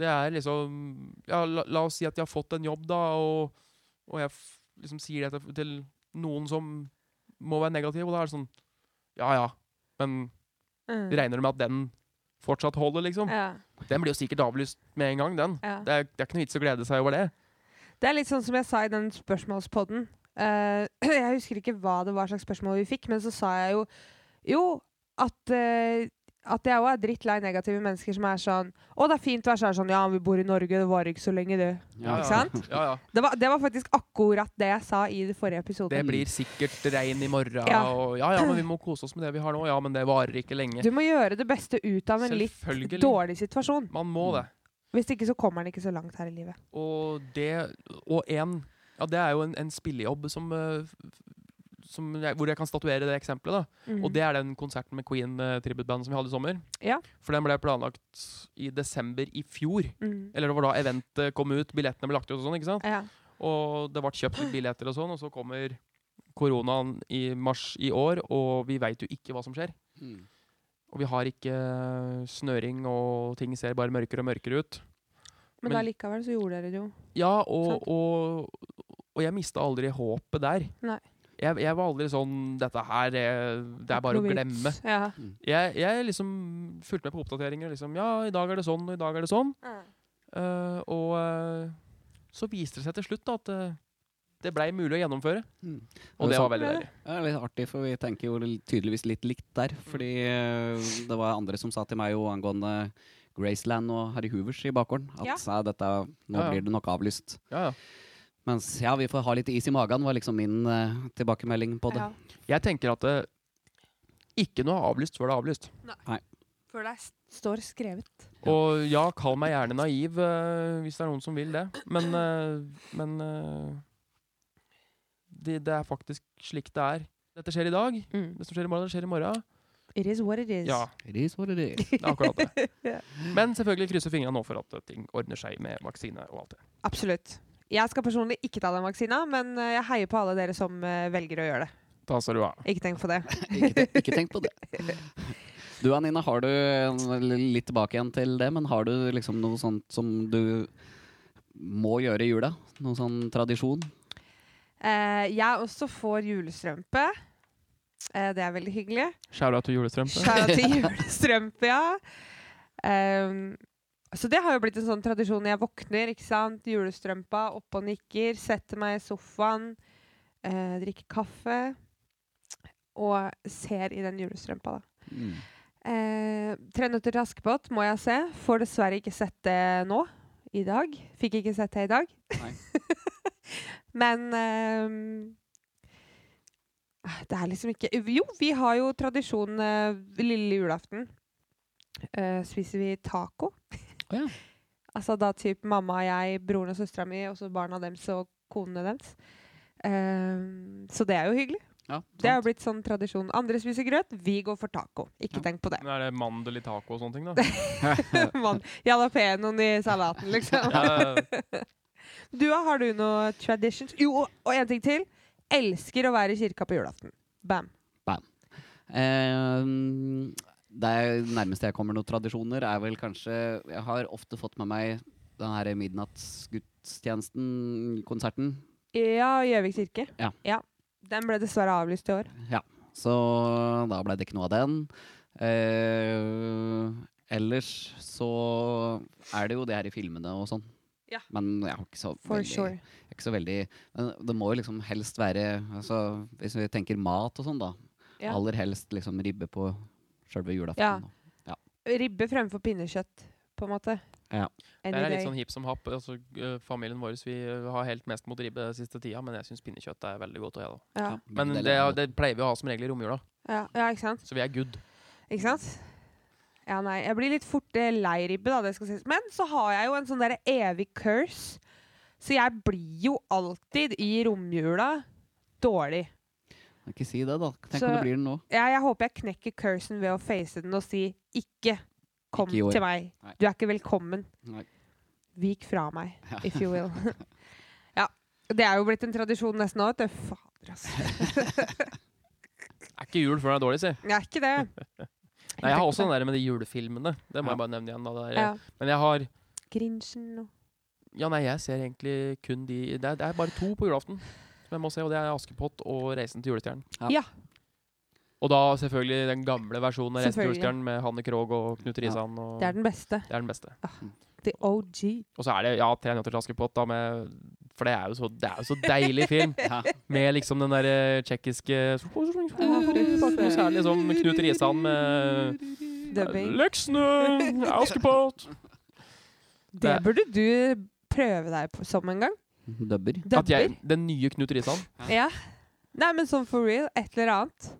S6: Det er liksom ja, la, la oss si at jeg har fått en jobb, da, og, og jeg f liksom sier det til, til noen som må være negativ, og da er det sånn Ja ja, men
S1: Mm.
S6: regner du med at den fortsatt holder, liksom?
S1: Ja,
S6: Den blir jo sikkert avlyst med en gang, den.
S1: ja.
S6: Det er, det er ikke noe vits å glede seg over det.
S1: Det er litt sånn som jeg sa i den spørsmålspodden. Eh, (clears throat) jeg husker ikke hva det var slags spørsmål vi fikk, men så sa jeg jo jo at, eh, at jeg òg er drittlei negative mennesker som er sånn Å, det er fint vær, så er det sånn Ja, vi bor i Norge, det varer ikke så lenge, det.
S2: Ja,
S1: Ikke sant?
S6: (laughs) Ja, ja.
S1: Det var, det var faktisk akkurat det jeg sa i det forrige episoden.
S6: Det blir sikkert regn i morgen,
S1: Ja.
S6: og ja ja, men vi må kose oss med det vi har nå. Ja, men det varer ikke lenge.
S1: Du må gjøre det beste ut av en litt
S6: Selvfølgelig.
S1: dårlig situasjon.
S6: Man må det.
S1: Hvis ikke så kommer han ikke så langt her i livet.
S6: Og det Og en Ja, det er jo en, en spillejobb som, eh, f- som jeg, Hvor jeg kan statuere det eksempelet, da.
S1: Mm,
S6: Og det er den konserten med Queen uh, Tributeband som vi hadde i sommer.
S1: Mhm. Ja.
S6: For den ble planlagt i desember i fjor.
S1: Mhm.
S6: Eller det var da eventet kom ut, billettene ble lagt ut og sånn. ikke sant?
S1: Ja.
S6: Og det ble kjøpt litt billetter og sånn, og så kommer koronaen i mars i år, og vi veit jo ikke hva som skjer.
S2: Mm.
S6: Og vi har ikke eh, snøring, og ting ser bare mørkere og mørkere ut.
S1: Men,
S6: Men-
S1: allikevel så gjorde dere det jo.
S6: Ja, og, og, og jeg mista aldri håpet der.
S1: Nei.
S6: Jeg, jeg var aldri sånn Dette her, eh, det er bare å
S1: Noe vits.
S6: glemme.
S1: Ja.
S6: Jeg, jeg liksom fulgte med på oppdateringer. Liksom, ja, i dag er det sånn, og i dag er det sånn. Eh, og eh, så viste det seg til slutt da, at eh, det blei mulig å gjennomføre.
S2: Mm.
S6: Og det
S2: sant.
S6: var veldig deilig.
S2: Det er litt artig, for vi tenker jo li- tydeligvis litt likt der. Fordi eh, det var andre som sa til meg jo angående Graceland og Harry Hoovers i bakgården at
S1: Ja.
S2: «Nei, dette, nå
S6: Ja, ja.
S2: blir det nok avlyst.
S6: Ja, ja.
S2: Mens ja, vi får ha litt is i magen, var liksom min eh, tilbakemelding på det.
S1: Ja.
S6: Jeg tenker at eh, ikke noe er avlyst før det er avlyst.
S1: Før det er s- står skrevet.
S6: Og ja, kall meg gjerne naiv eh, hvis det er noen som vil det. Men, eh, men eh, det, det er faktisk slik det er. Dette skjer i dag.
S1: Mm.
S6: Det som skjer i morgen, det skjer i morgen.
S1: It is what it is.
S6: Ja,
S2: It is what it is.
S6: det er akkurat (laughs) det.
S1: Ja.
S6: Men selvfølgelig krysser fingrene nå for at eh, ting ordner seg med vaksine og alt det.
S1: Absolutt. Jeg skal personlig ikke ta den vaksina, men eh, jeg heier på alle dere som eh, velger å gjøre det.
S6: Da skal du ha.
S1: Ikke tenk på det.
S2: ikke, tenk, ikke tenk på det. Du Anina, har du en- litt tilbake igjen til det, men har du liksom noe sånt som du må gjøre i jula? Noen sånn tradisjon?
S1: (laughs) Eh, jeg også får julestrømpe. Eh, det er veldig hyggelig.
S6: Skjæra til julestrømpe.
S1: Skjæra til julestrømpe, ja. Ehm, så det har jo blitt en sånn tradisjon. Jeg våkner, ikke sant. Julestrømpa, oppe og nikker. Setter meg i sofaen. Eh, drikker kaffe. Og ser i den julestrømpa, da. Eh, Tre nøtter til Askepott må jeg se. Får dessverre ikke sett det nå. I dag. Fikk ikke sett det i dag.
S2: Nei.
S1: (laughs) Men eh, Det er liksom ikke Jo, vi har jo tradisjon eh, lille julaften. Eh, spiser vi taco.
S2: Å ja.
S1: (laughs) Altså da typ mamma, jeg, broren og søstera mi, og så barna deres og konene deres. Eh, så det er jo hyggelig.
S2: Ja,
S1: Det har (laughs)
S2: sant.
S1: blitt sånn tradisjon. Andre spiser grøt, vi går for taco. Ikke
S2: Ja.
S1: tenk på det.
S6: Men Er det mandel i taco og sånne ting, da?
S1: (laughs) Man, Jalapenoen i salaten, liksom.
S6: Ja,
S1: Du, har du noe traditions? Jo, og- og en ting til. Elsker å være i kirka på julaften. Bam.
S2: (laughs) Eh, det er- nærmeste jeg kommer noen tradisjoner, er vel kanskje Jeg har ofte fått med meg den her midnattsgudstjenesten-konserten.
S1: Ja, Gjøvik kirke.
S2: Ja.
S1: Den ble dessverre avlyst i år.
S2: Så da ble det ikke noe av den. Eh, ellers så er det jo det her i filmene og sånn.
S1: Ja.
S2: Men jeg har ikke så
S1: For
S2: veldig
S1: sure.
S2: jeg er ikke så veldig Men det må jo liksom helst være altså, Hvis vi tenker mat og sånn, da.
S1: Ja.
S2: Aller helst liksom ribbe på sjølve
S1: Ja.
S2: julaften.
S1: Ribbe fremfor pinnekjøtt, på en måte.
S2: Ja.
S1: Any
S6: Det er litt
S1: day.
S6: sånn hipp som happ. Altså, eh, familien vår vi eh, har helt mest mot ribbe siste tida, men jeg syns pinnekjøtt er veldig godt. Og jeg, da.
S1: ja.
S2: Ja,
S6: Men
S2: begge
S6: det,
S2: deler er
S6: det pleier vi å ha som regel i romjula,
S1: Ja. ja, ikke sant?
S6: så vi er good.
S1: Ikke sant? Ja, nei. Jeg blir litt fort eh, lei ribbe, da. Det skal sies. Men så har jeg jo en sånn derre evig curse. Så jeg blir jo alltid i romjula dårlig.
S2: godt. Ikke si det, da. Tenk
S1: Så-
S2: om det blir
S1: (laughs)
S2: den nå.
S1: Jeg, jeg håper jeg knekker cursen ved å face den og si ikke kom
S2: Ikke i år.
S1: til meg.
S2: Nei.
S1: Du er ikke velkommen.
S2: Nei.
S1: Vik fra meg,
S2: Ja.
S1: if you will. (laughs) ja. Det er jo blitt en tradisjon nesten nå, vet du. Fader, altså.
S6: Er ikke jul før den er dårlig, si.
S1: Det er ikke det.
S6: Nei, jeg har også den der med de julefilmene. Det må
S2: Ja.
S6: jeg bare nevne igjen. Da, det er,
S1: ja.
S6: Men jeg har
S1: Grinchen og
S6: Ja, nei, jeg ser egentlig kun de Det er, det er bare to på julaften som jeg må se, og det er 'Askepott' og 'Reisen til julestjernen'.
S1: Ja.
S2: Ja.
S6: Og da selvfølgelig den gamle versjonen av 'Reisen til
S1: Selvfølgelig.
S6: julestjernen' med Hanne Krogh og Knut Risan. Og
S1: Det er den beste.
S6: det er den beste.
S1: The OG.
S6: Og så er det ja, 'Tre nøtter til Askepott', da, med For det er jo så, det er jo så deilig film.
S2: Ja.
S6: Med liksom den derre tsjekkiske Og så er det liksom Knut Risan med
S1: Dubbing. (laughs)
S6: Leksene! Askepott!
S1: Det burde du prøve deg på som en gang.
S2: Dubber.
S6: At
S1: Dubber.
S6: jeg, den nye Knut Risan
S1: Ja. Nei, men sånn for real. Et eller annet.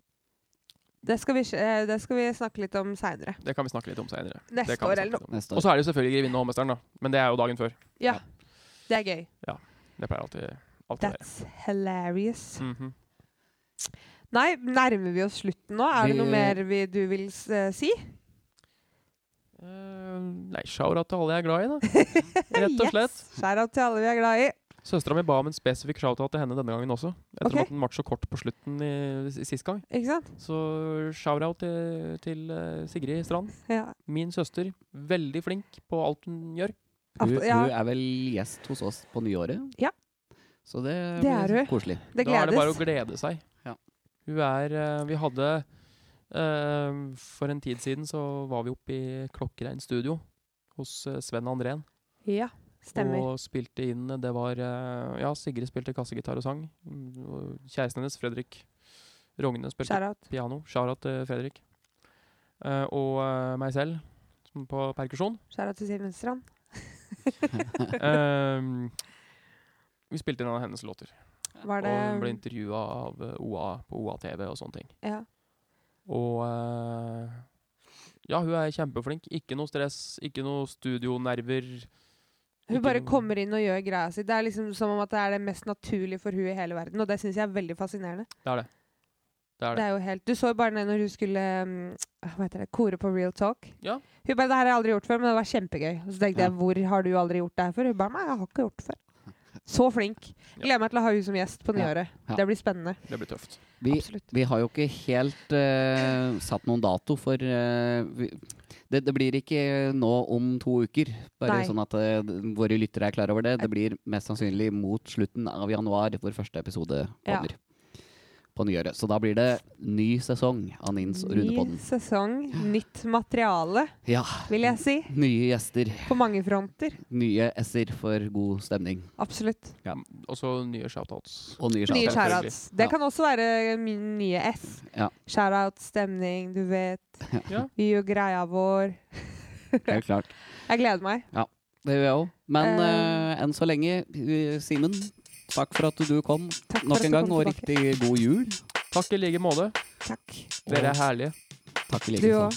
S1: Det skal vi, sj- eh, det skal vi snakke litt om seinere.
S6: Det kan vi snakke litt om senere. Det
S1: Neste
S6: kan vi
S1: år
S6: snakke
S1: eller noe.
S6: litt om.
S2: neste
S6: Og
S2: år.
S6: så er det jo selvfølgelig Grevinne og Hovmesteren, da. Men det er jo dagen før.
S1: Ja. Det er gøy.
S6: Det pleier alltid, alltid å være.
S1: That's hilarious.
S6: Mhm.
S1: Nei, nærmer vi oss slutten nå? Er det noe
S2: Vi-
S1: mer vi, du vil s- eh, si?
S6: Eh, nei, shout-out til alle jeg er glad i,
S1: (laughs)
S6: da. Rett og slett.
S1: Skjæra til alle vi er glad i.
S6: Søstera mi ba om en spesifikk shout-out til henne denne gangen også.
S1: Ok.
S6: Etter at den var så kort på slutten i, i sist gang.
S1: Ikke sant?
S6: Så shout-out til, til eh, Sigrid Strand.
S1: Ja.
S6: Min søster. Veldig flink på alt hun gjør.
S2: Hun,
S1: Aften- ja.
S2: hun er vel gjest hos oss på nyåret.
S1: Ja.
S2: Så det,
S1: Det er
S2: blir liksom
S1: hun.
S2: koselig.
S1: Det
S6: Da er det bare å
S1: gledes.
S6: glede seg.
S2: Ja.
S6: Hun er eh, Vi hadde eh, For en tid siden så var vi oppe i Klokkerein studio hos eh, Sven Andrén
S1: Ja, stemmer.
S6: og spilte inn eh, Det var eh, Ja, Sigrid spilte kassegitar og sang. Mm, og Kjæresten hennes, Fredrik Rogne, spilte
S1: Shout-out.
S6: piano. Sharat til Fredrik. Eh, og eh, meg selv som på
S1: (laughs)
S6: perkusjon.
S1: Shout-out til Siv Venstrand.
S6: Eh, vi spilte inn en av hennes låter.
S1: Var
S6: Og hun ble
S1: det
S6: intervjua av eh, OA på OA-TV og sånne ting.
S1: ja.
S6: Og eh, ja, hun er kjempeflink. Ikke noe stress, ikke noe studionerver.
S1: Hun
S6: Ikke
S1: bare
S6: noe-
S1: kommer inn og gjør greia si. Det er liksom som om at det er det mest naturlige for hun i hele verden, og det syns jeg er veldig fascinerende.
S6: Det er det. Det er
S1: Det
S6: det.
S1: er jo helt, du så jo bare det når hun skulle mm, hva heter det, kore på Real Talk.
S6: Ja.
S1: Hun bare 'Det her har jeg aldri gjort før, men det var kjempegøy'. Og så tenkte
S2: Ja.
S1: jeg 'Hvor har du aldri gjort det her før?' Hun bare 'Nei, jeg har ikke gjort det før'. Så flink. Gleder meg til å ha hun som gjest på
S2: Ja.
S1: nyåret.
S2: Ja.
S1: Det blir spennende.
S6: Det blir tøft.
S2: Vi,
S1: Absolutt.
S2: vi har jo ikke helt eh, satt noen dato for eh, vi, det, det blir ikke nå om to uker. Bare
S1: Nei.
S2: sånn at eh, d- våre lyttere er klar over det. Det blir mest sannsynlig mot slutten av januar hvor første episode
S1: Ja.
S2: kommer. På nyåret. Så da blir det ny sesong av Nins og
S1: Ny
S2: Runepodden.
S1: sesong, nytt materiale,
S2: Ja.
S1: vil jeg si.
S2: Nye gjester,
S1: På mange fronter.
S2: nye s-er for god stemning.
S1: Absolutt.
S6: Og så nye shoutouts.
S2: Og nye
S1: Nye
S2: shoutouts.
S6: shout-outs.
S1: shoutouts. Det
S2: Ja.
S1: kan også være min nye S.
S2: Ja.
S1: Shoutout, stemning, du vet.
S6: Ja.
S1: Vi gjør greia vår.
S2: Helt klart.
S1: Jeg gleder meg.
S2: Det gjør jeg òg. Men
S1: Eh.
S2: eh, enn så lenge, eh, Simen, takk for at du kom
S1: Takk for
S2: nok
S1: at
S2: en
S1: du
S2: gang.
S1: kom
S2: Og
S1: tilbake.
S2: riktig god jul.
S6: Takk i like måte.
S1: Takk.
S6: Dere er herlige.
S2: Takk
S1: Du
S2: i like
S1: òg.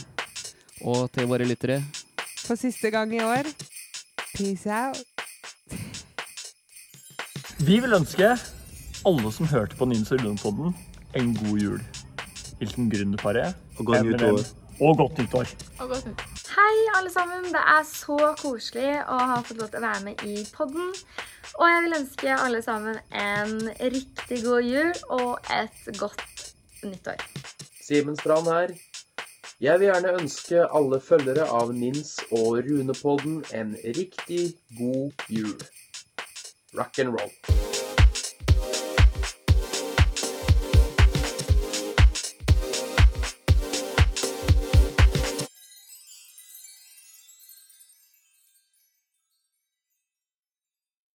S2: måte. Og til våre lyttere,
S1: For siste gang i år. Peace out.
S7: Vi vil ønske alle som hørte på Nins og Lundpodden, en god jul. Hilsen Gründerparet. Og godt nyttår. Og godt nyttår.
S8: Hei, alle sammen. Det er så koselig å ha fått lov til å være med i podden. Og jeg vil ønske alle sammen en riktig god jul og et godt nyttår.
S9: Simen Strand her. Jeg vil gjerne ønske alle følgere av Nins og Runepodden en riktig god jul. Rock and roll.